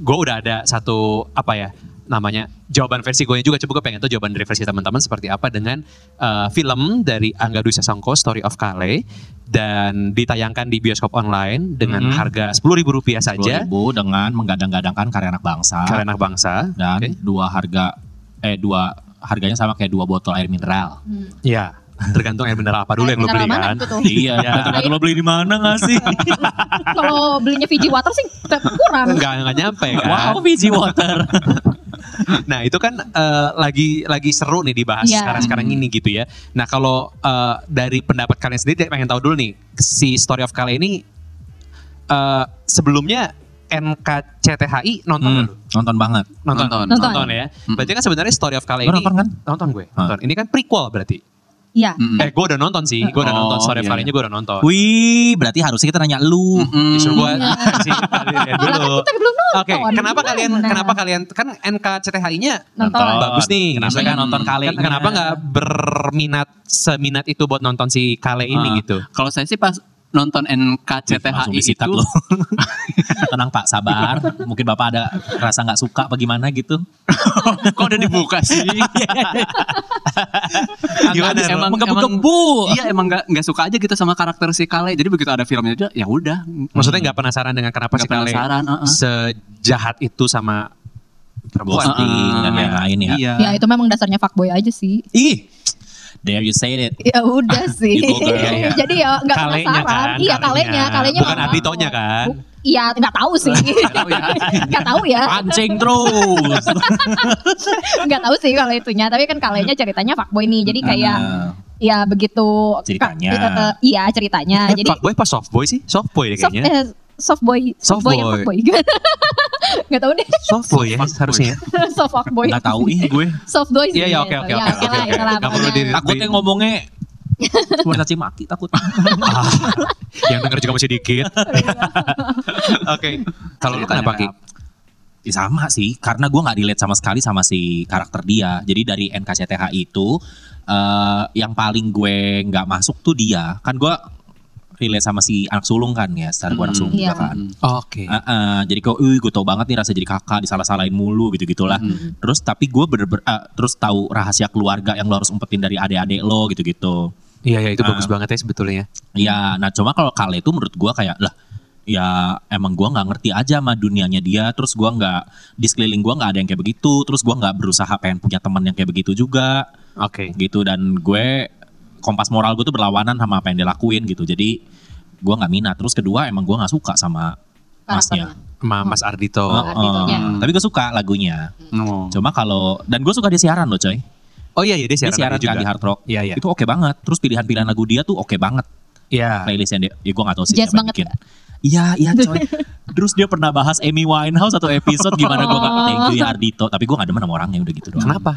Speaker 1: gue udah ada satu apa ya namanya jawaban versi gue juga coba gue pengen tuh jawaban dari versi teman-teman seperti apa dengan eh, film dari Angga Dwi Sasongko Story of Kale dan ditayangkan di bioskop online dengan
Speaker 2: Mhm.
Speaker 1: harga sepuluh ribu rupiah saja
Speaker 2: ribu dengan menggadang-gadangkan karya anak bangsa
Speaker 1: karena anak bangsa
Speaker 2: dan
Speaker 1: Oke.
Speaker 2: dua harga eh dua harganya sama kayak dua botol air mineral.
Speaker 3: Hmm.
Speaker 1: ya tergantung air mineral apa dulu yang lo
Speaker 3: Mineral
Speaker 1: beli
Speaker 3: mana
Speaker 1: kan
Speaker 3: itu tuh?
Speaker 2: iya, tergantung lo beli di mana nggak sih?
Speaker 3: Kalau belinya Fiji Water sih tetap kurang.
Speaker 1: nggak nggak nyampe kan
Speaker 2: wow, Fiji water.
Speaker 1: Nah itu kan eh, lagi lagi seru nih dibahas
Speaker 3: Iya.
Speaker 1: sekarang sekarang ini gitu ya. Nah kalau eh, dari pendapat kalian sendiri, pengen tahu dulu nih si Story of Kale ini eh, sebelumnya NKCTHI nonton
Speaker 2: Hmm,
Speaker 1: dulu?
Speaker 2: nonton banget.
Speaker 1: nonton,
Speaker 4: Nonton.
Speaker 3: Nonton.
Speaker 1: ya. Berarti kan sebenarnya Story of Kale
Speaker 2: Lo
Speaker 1: ini
Speaker 2: nonton kan?
Speaker 1: nonton gue nonton. Ini kan prequel berarti.
Speaker 3: Iya.
Speaker 4: Mm-mm.
Speaker 1: Eh gue udah nonton sih, gue udah
Speaker 4: Hmm. Oh,
Speaker 1: nonton Story of
Speaker 4: iya,
Speaker 1: Kale-nya gue udah nonton.
Speaker 2: Wih, berarti harusnya kita nanya lu.
Speaker 4: Mm-mm.
Speaker 1: Disuruh gue
Speaker 3: Iya.
Speaker 1: sih kalian
Speaker 3: Karena
Speaker 1: dulu.
Speaker 3: kita belum nonton.
Speaker 1: Oke, kenapa
Speaker 3: Gimana?
Speaker 1: kalian kenapa kalian kan NKCTHI-nya
Speaker 3: Nonton.
Speaker 1: bagus nih.
Speaker 2: Oh, Kenapa
Speaker 1: Misalkan
Speaker 2: nggak nonton kali?
Speaker 1: Kan- kenapa nggak berminat seminat itu buat nonton si Kale ini
Speaker 4: Ah,
Speaker 1: gitu?
Speaker 4: Kalau saya sih pas nonton
Speaker 2: Langsung
Speaker 4: NKCTHI
Speaker 2: disikat
Speaker 4: itu
Speaker 2: lo. Tenang Pak, sabar. Mungkin Bapak ada rasa nggak suka apa gimana gitu.
Speaker 4: kok udah dibuka sih?
Speaker 1: Gimana, Ro?
Speaker 4: emang, emang
Speaker 2: Menggebu-gebu.
Speaker 4: Iya emang nggak nggak suka aja gitu sama karakter si Kale. Jadi begitu ada filmnya aja ya udah.
Speaker 1: Maksudnya nggak penasaran dengan kenapa
Speaker 4: Nggak
Speaker 1: si Kale
Speaker 4: penasaran, uh-uh.
Speaker 1: sejahat itu sama perempuan?
Speaker 2: Ghosting dan lain-lain ya.
Speaker 4: Iya.
Speaker 3: Ya itu memang dasarnya fuckboy aja sih.
Speaker 2: Ih, dare you say it.
Speaker 3: Ya udah sih.
Speaker 2: Gitu, Bel.
Speaker 1: Iya, iya.
Speaker 3: Jadi ya nggak
Speaker 1: Kalenya
Speaker 3: penasaran.
Speaker 1: kan?
Speaker 3: Iya kalenya, kalenya
Speaker 1: Bukan
Speaker 3: memang-
Speaker 1: Aditonya kan?
Speaker 3: Bu- Iya nggak tahu sih.
Speaker 4: tahu ya.
Speaker 3: Nggak tahu ya.
Speaker 2: Pancing terus.
Speaker 3: Nggak tahu sih kalau itunya. Tapi kan kalenya ceritanya fuckboy nih. Jadi kayak
Speaker 1: Ah.
Speaker 2: Nah,
Speaker 3: ya begitu.
Speaker 2: Ceritanya.
Speaker 3: Ka- eh, eh, Iya ceritanya.
Speaker 1: Eh,
Speaker 3: Jadi
Speaker 1: fuckboy apa softboy sih? Softboy deh
Speaker 3: soft,
Speaker 1: kayaknya.
Speaker 3: eh, soft boy, soft boy, yang
Speaker 1: Soft boy.
Speaker 3: fuckboy. Gak tahu deh,
Speaker 1: Softboy ya
Speaker 4: Softboy.
Speaker 1: harusnya.
Speaker 3: soft fuckboy.
Speaker 2: Nggak tahu ih gue.
Speaker 3: Soft boy sih.
Speaker 1: Iya, iya, oke,
Speaker 3: gitu.
Speaker 1: oke,
Speaker 3: Ya,
Speaker 1: oke,
Speaker 3: oke
Speaker 1: oke,
Speaker 3: lah,
Speaker 1: oke.
Speaker 3: itu lah
Speaker 1: Nggak perlu
Speaker 3: pokoknya.
Speaker 1: di-
Speaker 2: Takutnya ngomongnya Caci maki takut.
Speaker 1: Ah, yang denger juga masih dikit. Oke. Kalau lu kenapa Ki?
Speaker 2: Ya, sama sih, karena gue nggak relate sama sekali sama si karakter dia. Jadi dari NKCTH itu eh, yang paling gue nggak masuk tuh dia. Kan gue relate sama si anak sulung kan ya, secara gue anak
Speaker 4: Hmm,
Speaker 2: sulung juga
Speaker 3: iya.
Speaker 2: kan.
Speaker 1: Oke.
Speaker 2: Ah, ah, jadi kok, uh, gue tau banget nih rasa jadi kakak disalah-salahin mulu gitu gitulah.
Speaker 4: Hmm.
Speaker 2: Terus tapi gue bener, -bener terus tahu rahasia keluarga yang lo harus umpetin dari adik-adik lo gitu gitu.
Speaker 1: Iya, iya itu
Speaker 2: Ah.
Speaker 1: bagus banget ya sebetulnya.
Speaker 2: Ya, nah cuma kalau Kale itu menurut gua kayak lah ya emang gua nggak ngerti aja sama dunianya dia terus gua nggak di sekeliling gua nggak ada yang kayak begitu terus gua nggak berusaha pengen punya teman yang kayak begitu juga
Speaker 1: Oke.
Speaker 2: gitu dan gue kompas moral gue tuh berlawanan sama apa yang dilakuin gitu jadi gua nggak minat terus kedua emang gua nggak suka sama
Speaker 3: Karakternya.
Speaker 2: masnya
Speaker 1: Ma- Mas Ardito.
Speaker 2: Oh, oh.
Speaker 3: Arditonya.
Speaker 2: tapi gue suka lagunya
Speaker 4: No.
Speaker 2: cuma kalau dan gue suka dia siaran loh coy
Speaker 1: Oh iya, iya dia
Speaker 2: dia
Speaker 1: siaran,
Speaker 2: siaran
Speaker 1: radio
Speaker 2: kan di
Speaker 1: juga.
Speaker 2: hard rock
Speaker 1: Iya, iya.
Speaker 2: itu oke banget terus pilihan-pilihan lagu dia tuh oke banget
Speaker 1: Iya.
Speaker 2: playlist yang dia, ya gue gak tau sih
Speaker 3: Jazz
Speaker 2: siapa yang
Speaker 3: banget.
Speaker 2: bikin. Iya, iya coy. Terus dia pernah bahas Amy Winehouse satu episode gimana gue gak thank
Speaker 3: Oh.
Speaker 2: you ya Ardito. Tapi gue gak demen sama orangnya udah gitu doang.
Speaker 1: Kenapa?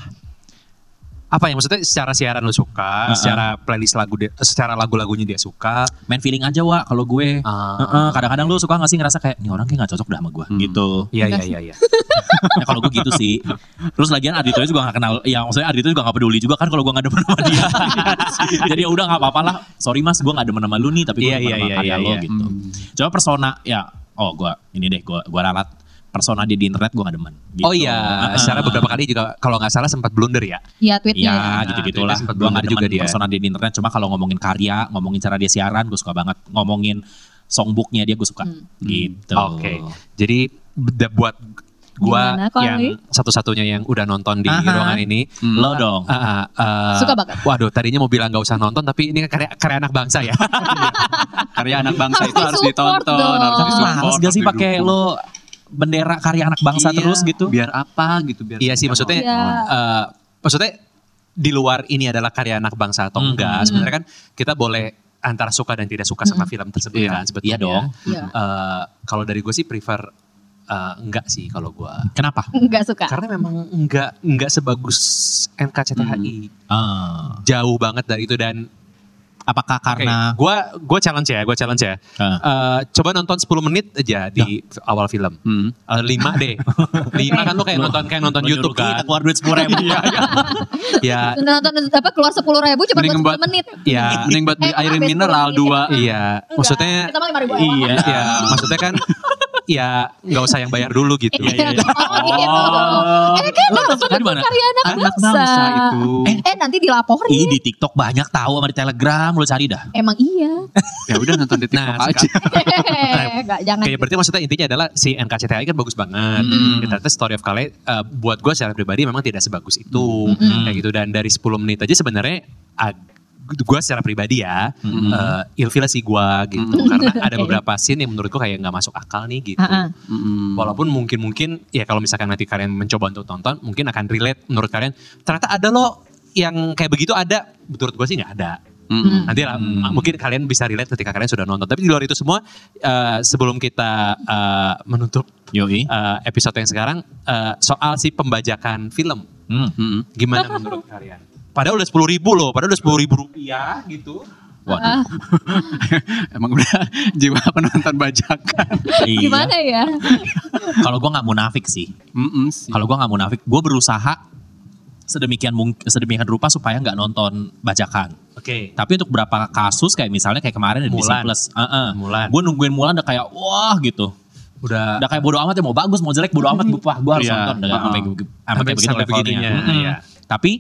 Speaker 1: Apa yang maksudnya secara siaran lu suka,
Speaker 2: Uh-uh.
Speaker 1: secara playlist lagu dia, eh, secara lagu-lagunya dia suka.
Speaker 2: Main feeling aja wa kalau gue.
Speaker 1: Ah.
Speaker 2: Heeh, kadang-kadang lu suka gak sih ngerasa kayak, nih orang kayak gak cocok dah sama gue
Speaker 4: Hmm.
Speaker 2: gitu.
Speaker 1: Iya iya iya iya.
Speaker 2: Ya kalau gue gitu sih. Terus lagian Ardito juga gak kenal, ya maksudnya Ardito juga gak peduli juga kan kalau gue gak demen sama dia. Jadi ya udah gak apa-apa lah. Sorry mas, gue gak demen sama lu nih tapi gue
Speaker 1: Iya,
Speaker 2: demen
Speaker 1: iya,
Speaker 2: sama
Speaker 1: iya,
Speaker 2: karya
Speaker 1: iya,
Speaker 2: lo
Speaker 1: iya.
Speaker 2: gitu. Coba persona, ya oh gue ini deh gue gua ralat. Persona dia di internet gue gak demen. gitu.
Speaker 1: Oh iya,
Speaker 2: Heeh.
Speaker 1: secara beberapa kali juga kalau nggak salah sempat blunder ya.
Speaker 3: Iya tweetnya. ya.
Speaker 2: Iya
Speaker 1: Nah,
Speaker 2: gitu-gitulah.
Speaker 1: itu sempat
Speaker 2: Gue nggak
Speaker 1: blunder juga
Speaker 2: juga
Speaker 1: dia.
Speaker 2: dia. Persona dia di internet. Cuma kalau ngomongin karya, ngomongin cara dia siaran, gue suka banget. Ngomongin songbooknya dia gue suka.
Speaker 3: Hmm.
Speaker 2: Gitu.
Speaker 1: Oke. Jadi beda buat gua
Speaker 3: Gimana, Koi?
Speaker 1: yang satu-satunya yang udah nonton di
Speaker 2: Aha.
Speaker 1: ruangan ini.
Speaker 4: Hmm.
Speaker 2: Lo dong.
Speaker 1: Ah, ah, ah.
Speaker 3: Suka banget.
Speaker 1: Waduh, tadinya mau bilang nggak usah nonton, tapi ini kan karya, karya anak bangsa ya.
Speaker 4: Karya anak bangsa
Speaker 3: Harus
Speaker 4: itu harus
Speaker 3: disupport
Speaker 4: ditonton,
Speaker 3: dong.
Speaker 4: Ah, harus
Speaker 2: Terus
Speaker 4: disupport.
Speaker 2: males gak sih
Speaker 4: harus
Speaker 2: pakai
Speaker 4: didukung.
Speaker 2: lo bendera karya anak bangsa
Speaker 4: Iya,
Speaker 2: terus gitu?
Speaker 4: Biar apa gitu biar.
Speaker 1: Iya sih,
Speaker 4: mereka
Speaker 1: maksudnya
Speaker 4: mau-
Speaker 3: Iya.
Speaker 1: eh, maksudnya di luar ini adalah karya anak bangsa atau
Speaker 2: Mhm.
Speaker 1: enggak? Sebenarnya kan kita boleh antara suka dan tidak suka sama film tersebut
Speaker 4: Iya.
Speaker 1: kan sebetulnya.
Speaker 2: Iya dong.
Speaker 3: Iya.
Speaker 1: Eh, kalau dari gue sih prefer eh, enggak sih kalau gue.
Speaker 2: Kenapa?
Speaker 3: Nggak suka.
Speaker 1: Karena memang enggak enggak sebagus NKCTHI.
Speaker 2: Ah,
Speaker 1: Jauh banget dari itu dan
Speaker 2: apakah karena
Speaker 1: gue gue challenge ya, gue challenge ya.
Speaker 2: Ah.
Speaker 1: Eh, coba nonton 10 menit aja di awal film.
Speaker 4: Hmm.
Speaker 1: Eh, lima deh. lima kan lu kayak
Speaker 2: Lo-
Speaker 1: nonton kayak nonton
Speaker 2: lo
Speaker 1: YouTube
Speaker 2: nyuruh kita
Speaker 1: kan.
Speaker 2: keluar duit sepuluh ribu.
Speaker 3: Iya.
Speaker 1: ya
Speaker 3: Nonton apa keluar sepuluh ribu cuma
Speaker 4: Mending
Speaker 3: buat 10
Speaker 4: buat-
Speaker 3: menit.
Speaker 1: ya
Speaker 4: Mending buat beli
Speaker 3: Eh,
Speaker 4: airin
Speaker 3: habis
Speaker 4: mineral
Speaker 3: kurang
Speaker 4: dua.
Speaker 1: Iya,
Speaker 3: Enggak,
Speaker 1: maksudnya
Speaker 3: kita mah 5.000
Speaker 1: iya,
Speaker 3: awal.
Speaker 1: maksudnya kan ya nggak usah yang bayar dulu gitu.
Speaker 2: Iya, iya, iya.
Speaker 3: Oh, gitu. Eh kan nonton
Speaker 2: kan di mana?
Speaker 3: karya anak,
Speaker 1: Anak
Speaker 3: bangsa.
Speaker 1: bangsa
Speaker 4: gitu.
Speaker 1: itu.
Speaker 2: Eh,
Speaker 3: Eh nanti dilaporin.
Speaker 1: Iya.
Speaker 2: Ih, di TikTok banyak tahu sama di Telegram lu cari dah.
Speaker 3: Emang iya.
Speaker 4: Ya udah nonton di TikTok
Speaker 1: Nah,
Speaker 4: aja.
Speaker 3: Enggak jangan.
Speaker 1: Kayak berarti maksudnya intinya adalah si NKCTI kan bagus banget.
Speaker 2: Hmm.
Speaker 1: Ya, Ternyata Story of Kale eh, buat gue secara pribadi memang tidak sebagus itu.
Speaker 2: Hmm.
Speaker 1: Kayak gitu dan dari 10 menit aja sebenarnya gue secara pribadi ya
Speaker 2: Hmm. Iya,
Speaker 1: eh, ilfil sih gue gitu
Speaker 4: Hmm.
Speaker 1: karena ada
Speaker 3: Oke.
Speaker 1: beberapa scene yang menurut gue kayak nggak masuk akal nih gitu.
Speaker 3: Ah, ah.
Speaker 4: Mm-mm.
Speaker 1: Walaupun mungkin-mungkin ya kalau misalkan nanti kalian mencoba untuk tonton mungkin akan relate menurut kalian ternyata ada loh yang kayak begitu ada menurut gue sih nggak ada
Speaker 4: Mm-mm.
Speaker 1: nanti lah
Speaker 2: Hmm.
Speaker 1: m- mungkin kalian bisa relate ketika kalian sudah nonton tapi di luar itu semua eh, sebelum kita eh, menutup
Speaker 2: Yoi.
Speaker 1: eh, episode yang sekarang eh, soal si pembajakan film
Speaker 2: Hmm.
Speaker 4: Mm-mm.
Speaker 1: gimana menurut kalian padahal udah sepuluh ribu loh padahal udah sepuluh ribu rupiah gitu
Speaker 2: Waduh.
Speaker 4: Emang udah jiwa penonton bajakan.
Speaker 2: Iya.
Speaker 3: Gimana ya?
Speaker 2: Kalau gua nggak munafik sih.
Speaker 1: Iya.
Speaker 4: Mm-mm Hmm, sih.
Speaker 2: Kalau gua nggak munafik, gua berusaha sedemikian mung- sedemikian rupa supaya nggak nonton bajakan.
Speaker 1: oke
Speaker 2: Tapi untuk beberapa kasus kayak misalnya kayak kemarin di Disney
Speaker 1: Mulan.
Speaker 2: Plus, heeh.
Speaker 1: Mulan.
Speaker 2: Gua nungguin Mulan udah kayak wah gitu.
Speaker 1: udah
Speaker 2: Udah kayak bodo amat ya mau bagus mau jelek bodo amat gua gua harus
Speaker 4: Iya,
Speaker 2: nonton udah
Speaker 4: heeh.
Speaker 2: sampai sampai,
Speaker 1: Sampai-
Speaker 2: kayak begitu
Speaker 1: sampai
Speaker 2: levelnya.
Speaker 1: begininya,
Speaker 2: Mm-mm.
Speaker 1: iya.
Speaker 2: Tapi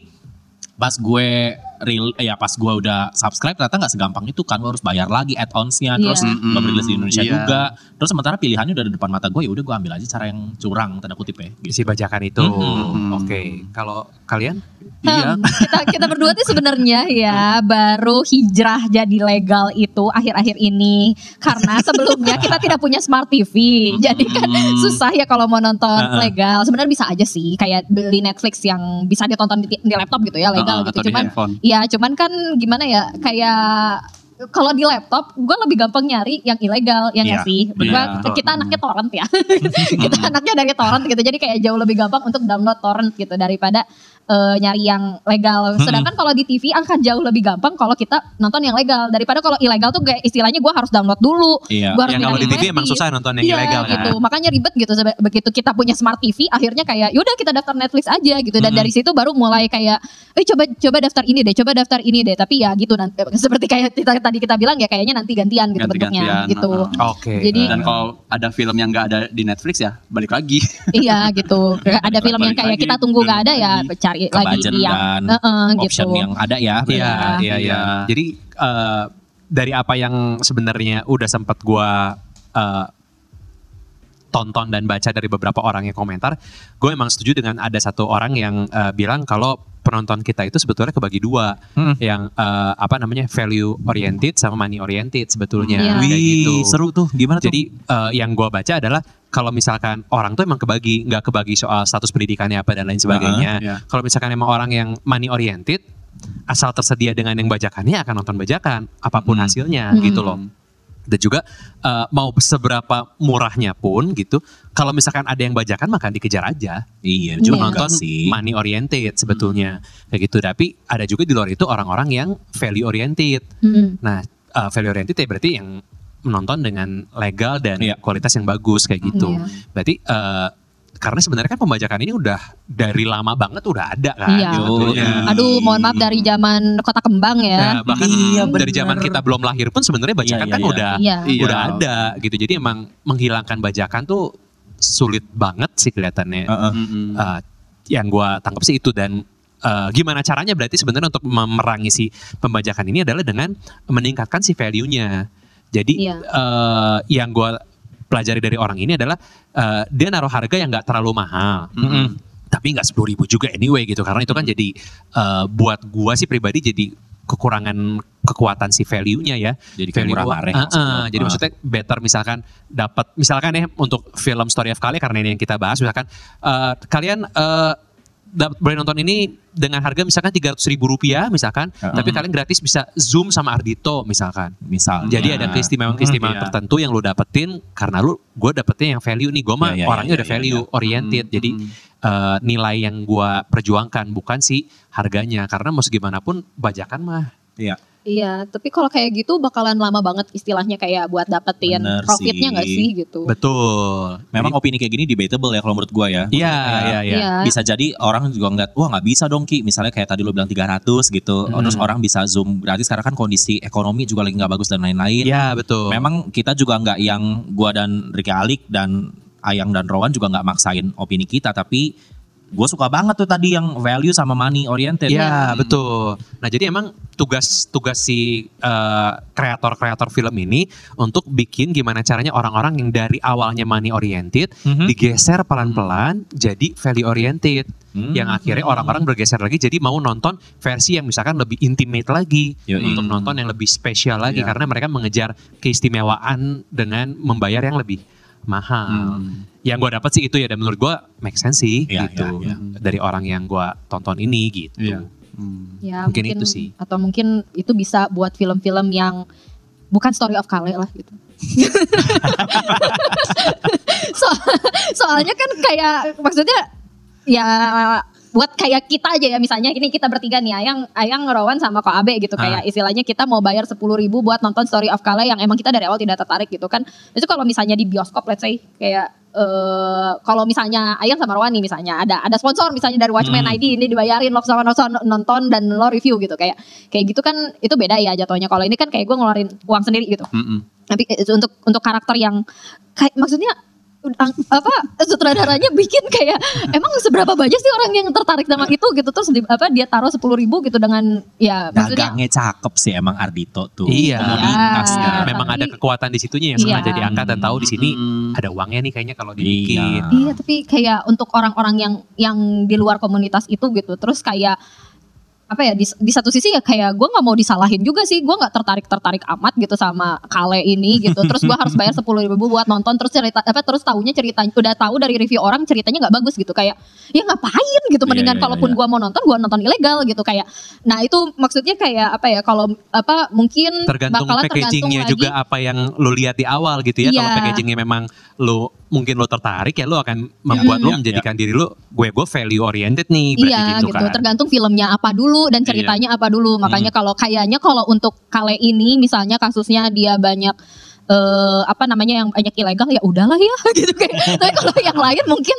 Speaker 2: pas gue real ya pas gue udah subscribe ternyata nggak segampang itu kan Gua harus bayar lagi add-onsnya
Speaker 3: Iya.
Speaker 2: terus
Speaker 4: Mm-mm.
Speaker 2: belum rilis di Indonesia
Speaker 4: Iya.
Speaker 2: juga terus sementara pilihannya udah di depan mata gue ya udah gue ambil aja cara yang curang tanda kutip ya
Speaker 1: si
Speaker 2: gitu.
Speaker 1: bajakan itu
Speaker 4: Mm-mm.
Speaker 1: oke kalau kalian
Speaker 4: Iya.
Speaker 3: Hmm, kita kita berdua tuh sebenarnya ya baru hijrah jadi legal itu akhir-akhir ini karena sebelumnya kita tidak punya smart TV. Jadi kan
Speaker 4: Mm.
Speaker 3: susah ya kalau mau nonton
Speaker 2: Uh-uh.
Speaker 3: legal. Sebenarnya bisa aja sih kayak beli Netflix yang bisa ditonton di, di laptop gitu ya legal
Speaker 4: Uh-uh,
Speaker 3: gitu.
Speaker 4: atau di
Speaker 3: Cuman
Speaker 4: handphone.
Speaker 3: ya cuman kan gimana ya kayak kalau di laptop gue lebih gampang nyari yang ilegal ya
Speaker 2: Iya,
Speaker 3: nggak sih Gua-
Speaker 4: iya,
Speaker 3: kita,
Speaker 4: betul.
Speaker 3: anaknya torrent ya
Speaker 4: Hmm.
Speaker 3: kita anaknya dari torrent gitu jadi kayak jauh lebih gampang untuk download torrent gitu daripada eh, nyari yang legal sedangkan kalau di TV akan jauh lebih gampang kalau kita nonton yang legal daripada kalau ilegal tuh kayak istilahnya gue harus download dulu
Speaker 2: Iya.
Speaker 3: Gua harus
Speaker 1: Ya, yang kalau di
Speaker 3: nyari
Speaker 1: TV emang
Speaker 3: medis.
Speaker 1: susah nonton yang
Speaker 3: Iya,
Speaker 1: ilegal
Speaker 3: gitu.
Speaker 1: kan
Speaker 3: Makanya ribet gitu sebe- begitu kita punya smart TV akhirnya kayak yaudah kita daftar Netflix aja gitu dan
Speaker 2: Mm-mm.
Speaker 3: dari situ baru mulai kayak eh coba coba daftar ini deh, coba daftar ini deh. Tapi ya gitu nanti seperti kayak kita, tadi kita bilang ya kayaknya nanti gantian gitu bentuknya
Speaker 4: Ganti-gantian,
Speaker 3: gitu.
Speaker 4: uh-uh.
Speaker 1: oke
Speaker 3: Jadi
Speaker 4: Dan kalau ada film yang nggak ada di Netflix ya balik lagi.
Speaker 3: iya gitu. Kayak Ada film yang
Speaker 4: Balik
Speaker 3: kayak
Speaker 4: lagi,
Speaker 3: kita tunggu nggak ada ya
Speaker 4: balik
Speaker 3: cari lagi
Speaker 2: Kebajen
Speaker 3: yang eh,
Speaker 2: dan
Speaker 3: Heeh,
Speaker 2: option
Speaker 3: gitu.
Speaker 2: yang ada ya
Speaker 1: Iya,
Speaker 2: berarti.
Speaker 1: iya, iya. Jadi eh, dari apa yang sebenarnya udah sempat gua eh, tonton dan baca dari beberapa orang yang komentar, gue emang setuju dengan ada satu orang yang eh, bilang kalau penonton kita itu sebetulnya kebagi dua,
Speaker 2: Hmm.
Speaker 1: yang eh, apa namanya value oriented sama money oriented sebetulnya
Speaker 3: Iya.
Speaker 1: kayak gitu.
Speaker 2: Wih, seru tuh gimana tuh?
Speaker 1: Jadi eh, yang gua baca adalah kalau misalkan orang tuh emang kebagi, nggak kebagi soal status pendidikannya apa dan lain sebagainya.
Speaker 4: Heeh, iya.
Speaker 1: Kalau misalkan emang orang yang money oriented, asal tersedia dengan yang bajakannya akan nonton bajakan apapun
Speaker 2: Hmm.
Speaker 1: hasilnya
Speaker 3: Hmm.
Speaker 1: gitu loh. Dan juga eh, mau seberapa murahnya pun gitu, kalau misalkan ada yang bajakan maka dikejar aja.
Speaker 2: iya,
Speaker 3: Iya.
Speaker 2: cuma
Speaker 1: Penonton
Speaker 2: nonton sih. Hmm.
Speaker 1: money oriented sebetulnya kayak gitu. Tapi ada juga di luar itu orang-orang yang value oriented.
Speaker 3: Mm-mm.
Speaker 2: Hmm.
Speaker 1: Nah, eh, value oriented ya berarti yang menonton dengan legal dan
Speaker 2: Iya.
Speaker 1: kualitas yang bagus kayak gitu.
Speaker 3: Iya.
Speaker 1: Berarti eh, karena sebenarnya kan pembajakan ini udah dari lama banget udah ada kan.
Speaker 4: Ya,
Speaker 3: Iya.
Speaker 1: sebetulnya.
Speaker 2: Yoi.
Speaker 3: Aduh, mohon maaf dari zaman Kota Kembang
Speaker 1: Nah,
Speaker 3: ya.
Speaker 1: bahkan
Speaker 2: Iya,
Speaker 1: dari
Speaker 2: bener.
Speaker 1: zaman kita belum lahir pun sebenarnya bajakan
Speaker 2: Iya,
Speaker 1: kan
Speaker 2: iya,
Speaker 1: udah
Speaker 3: Iya.
Speaker 4: Iya.
Speaker 1: udah ada gitu. Jadi emang menghilangkan bajakan tuh sulit banget sih kelihatannya.
Speaker 2: Heeh.
Speaker 4: Mm-mm.
Speaker 1: Eh, yang gua tangkap sih itu dan eh, gimana caranya berarti sebenarnya untuk memerangi si pembajakan ini adalah dengan meningkatkan si value-nya. Jadi
Speaker 3: Iya.
Speaker 1: eh, yang gua pelajari dari orang ini adalah eh, dia naruh harga yang nggak terlalu mahal.
Speaker 4: Mm-mm.
Speaker 1: Tapi nggak sepuluh ribu juga anyway gitu karena itu kan jadi eh, buat gua sih pribadi jadi kekurangan kekuatan si value-nya ya.
Speaker 2: Jadi kayak murah mareh.
Speaker 1: Ah, ah,
Speaker 2: maksudnya.
Speaker 1: jadi
Speaker 2: Ah.
Speaker 1: maksudnya better misalkan dapat misalkan ya untuk film Story of Kale karena ini yang kita bahas misalkan eh, kalian eh, dapat boleh nonton ini dengan harga misalkan 300 ribu rupiah misalkan
Speaker 2: Heeh.
Speaker 1: tapi kalian gratis bisa zoom sama Ardito misalkan
Speaker 2: misalnya.
Speaker 1: jadi ada keistimewaan-keistimewaan
Speaker 4: Hmm, iya.
Speaker 1: tertentu yang lu dapetin karena lu gue dapetin yang value nih gue mah
Speaker 2: Iya, iya,
Speaker 1: orangnya
Speaker 2: iya,
Speaker 1: udah
Speaker 2: iya, hmm.
Speaker 1: value
Speaker 4: Hmm.
Speaker 1: oriented jadi eh, nilai yang gue perjuangkan bukan si harganya karena mau gimana pun bajakan mah
Speaker 2: Iya.
Speaker 3: Iya, tapi kalau kayak gitu bakalan lama banget istilahnya kayak buat dapetin
Speaker 2: Bener
Speaker 3: profitnya
Speaker 2: sih.
Speaker 3: nggak sih gitu.
Speaker 1: Betul.
Speaker 2: Memang opini kayak gini debatable ya kalau menurut gua ya.
Speaker 1: Iya, iya, iya.
Speaker 3: Iya.
Speaker 2: Bisa jadi orang juga ngeliat, wah nggak bisa dong Ki. Misalnya kayak tadi lo bilang 300 gitu.
Speaker 1: Hmm.
Speaker 2: Terus orang bisa zoom gratis karena kan kondisi ekonomi juga lagi nggak bagus dan lain-lain.
Speaker 1: Iya, betul.
Speaker 2: Memang kita juga nggak yang gua dan Rika Alik dan Ayang dan Rowan juga nggak maksain opini kita. Tapi gue suka banget tuh tadi yang value sama money oriented.
Speaker 1: Iya betul. Nah jadi emang tugas tugas si eh, kreator-kreator film ini untuk bikin gimana caranya orang-orang yang dari awalnya money oriented
Speaker 2: Mhm.
Speaker 1: digeser pelan-pelan jadi value oriented,
Speaker 2: Hmm.
Speaker 1: yang akhirnya orang-orang bergeser lagi jadi mau nonton versi yang misalkan lebih intimate lagi
Speaker 2: Yoi.
Speaker 1: untuk nonton yang lebih spesial lagi
Speaker 4: Iya.
Speaker 1: karena mereka mengejar keistimewaan dengan membayar yang lebih
Speaker 4: Hmm.
Speaker 1: mahal. Yang gue dapat sih itu ya dan menurut gue make sense sih
Speaker 2: Iya,
Speaker 1: gitu
Speaker 2: iya,
Speaker 4: iya.
Speaker 1: dari orang yang gue tonton ini gitu.
Speaker 4: Iya. Hmm.
Speaker 3: Ya,
Speaker 1: Mungkin itu sih.
Speaker 3: Atau mungkin itu bisa buat film-film yang bukan story of Kale lah gitu. So- soalnya kan kayak maksudnya ya buat kayak kita aja ya misalnya ini kita bertiga nih Ayang Ayang Rowan sama Ko Abe gitu
Speaker 1: Ah.
Speaker 3: kayak istilahnya kita mau bayar sepuluh ribu buat nonton Story of Kale yang emang kita dari awal tidak tertarik gitu kan itu kalau misalnya di bioskop let's say kayak eh kalau misalnya Ayang sama Rowan nih misalnya ada ada sponsor misalnya dari Watchmen
Speaker 2: Hmm.
Speaker 3: ID ini dibayarin lo sama nonton, nonton dan lo review gitu kayak kayak gitu kan itu beda ya jatuhnya kalau ini kan kayak gue ngeluarin uang sendiri gitu
Speaker 1: Hmm.
Speaker 4: Mm-mm.
Speaker 3: tapi eh, untuk untuk karakter yang kayak maksudnya ang- apa sutradaranya bikin kayak emang seberapa banyak sih orang yang tertarik sama itu gitu terus di- apa dia taruh sepuluh ribu gitu dengan ya maksudnya
Speaker 2: Dagangnya cakep sih emang Ardito tuh.
Speaker 1: Iya.
Speaker 2: Komoditas ya.
Speaker 3: Iya.
Speaker 1: memang ada
Speaker 3: Tapi-
Speaker 1: kekuatan di situnya ya, yang
Speaker 3: Iya.
Speaker 1: sengaja diangkat dan tahu Oh, di sini
Speaker 4: Mm-mm.
Speaker 1: ada uangnya nih kayaknya kalau dibikin.
Speaker 3: iya tapi kayak untuk orang-orang yang yang di luar komunitas itu gitu terus kayak apa ya di, di satu sisi ya kayak gue nggak mau disalahin juga sih gue nggak tertarik tertarik amat gitu sama kale ini gitu terus gue harus bayar sepuluh ribu buat nonton terus cerita apa terus tahunya ceritanya udah tahu dari review orang ceritanya nggak bagus gitu kayak ya ngapain
Speaker 2: Iya,
Speaker 3: gitu mendingan
Speaker 2: iya,
Speaker 3: kalaupun
Speaker 2: iya.
Speaker 3: gue mau nonton gue nonton ilegal gitu kayak nah itu maksudnya kayak apa ya kalau apa mungkin
Speaker 1: Tergantung
Speaker 3: bakalan
Speaker 1: packagingnya
Speaker 3: tergantung
Speaker 1: juga
Speaker 3: lagi.
Speaker 1: apa yang lo lihat di awal gitu ya. Kalau
Speaker 3: Iya.
Speaker 1: packagingnya memang lo mungkin lo tertarik ya lo akan membuat
Speaker 2: Iya,
Speaker 1: lo
Speaker 2: iya,
Speaker 1: menjadikan diri lo gue gue value oriented nih berarti
Speaker 3: Iya
Speaker 1: gitu,
Speaker 3: gitu,
Speaker 1: kan. Iya. Hmm.
Speaker 3: tergantung filmnya apa dulu dan ceritanya apa dulu. Makanya kalau kayaknya kalau untuk kale ini misalnya kasusnya dia banyak eh apa namanya yang banyak ilegal ya udahlah ya gitu kayak. Tapi kalau yang lain mungkin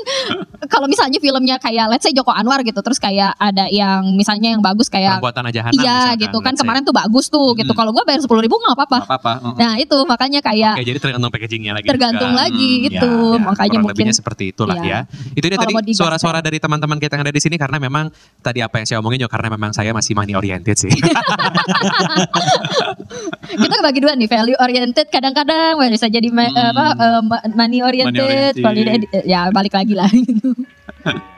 Speaker 3: kalau misalnya filmnya kayak let's say Joko Anwar gitu terus kayak ada yang misalnya yang bagus kayak
Speaker 1: Perbuatan aja Hana
Speaker 3: ya. Iya
Speaker 1: misalkan,
Speaker 3: gitu
Speaker 1: let's
Speaker 3: kan
Speaker 1: say. Oh.
Speaker 3: kemarin tuh bagus tuh gitu.
Speaker 4: Hmm.
Speaker 3: Kalau gua bayar sepuluh ribu nggak apa-apa.
Speaker 4: Nggak apa-apa. mm-mm.
Speaker 3: Nah itu makanya
Speaker 1: Oke,
Speaker 3: kayak
Speaker 1: gitu kan. jadi tergantung packagingnya lagi.
Speaker 3: tergantung
Speaker 1: juga.
Speaker 3: lagi
Speaker 4: Hmm,
Speaker 3: gitu.
Speaker 1: Ya,
Speaker 3: makanya
Speaker 1: kurang
Speaker 3: mungkin
Speaker 1: lebihnya seperti itulah
Speaker 3: Iya.
Speaker 1: ya. Itu dia
Speaker 3: Kalau
Speaker 1: tadi
Speaker 3: mau digas-
Speaker 1: suara-suara dari teman-teman kita yang ada di sini karena memang tadi apa yang saya omongin juga karena memang saya masih money oriented sih.
Speaker 3: kita bagi dua nih value oriented kadang-kadang wah, bisa jadi ma-
Speaker 4: Hmm.
Speaker 3: apa eh, ma- money oriented,
Speaker 4: Money oriented.
Speaker 3: value- eh, ya balik lagi lah gitu.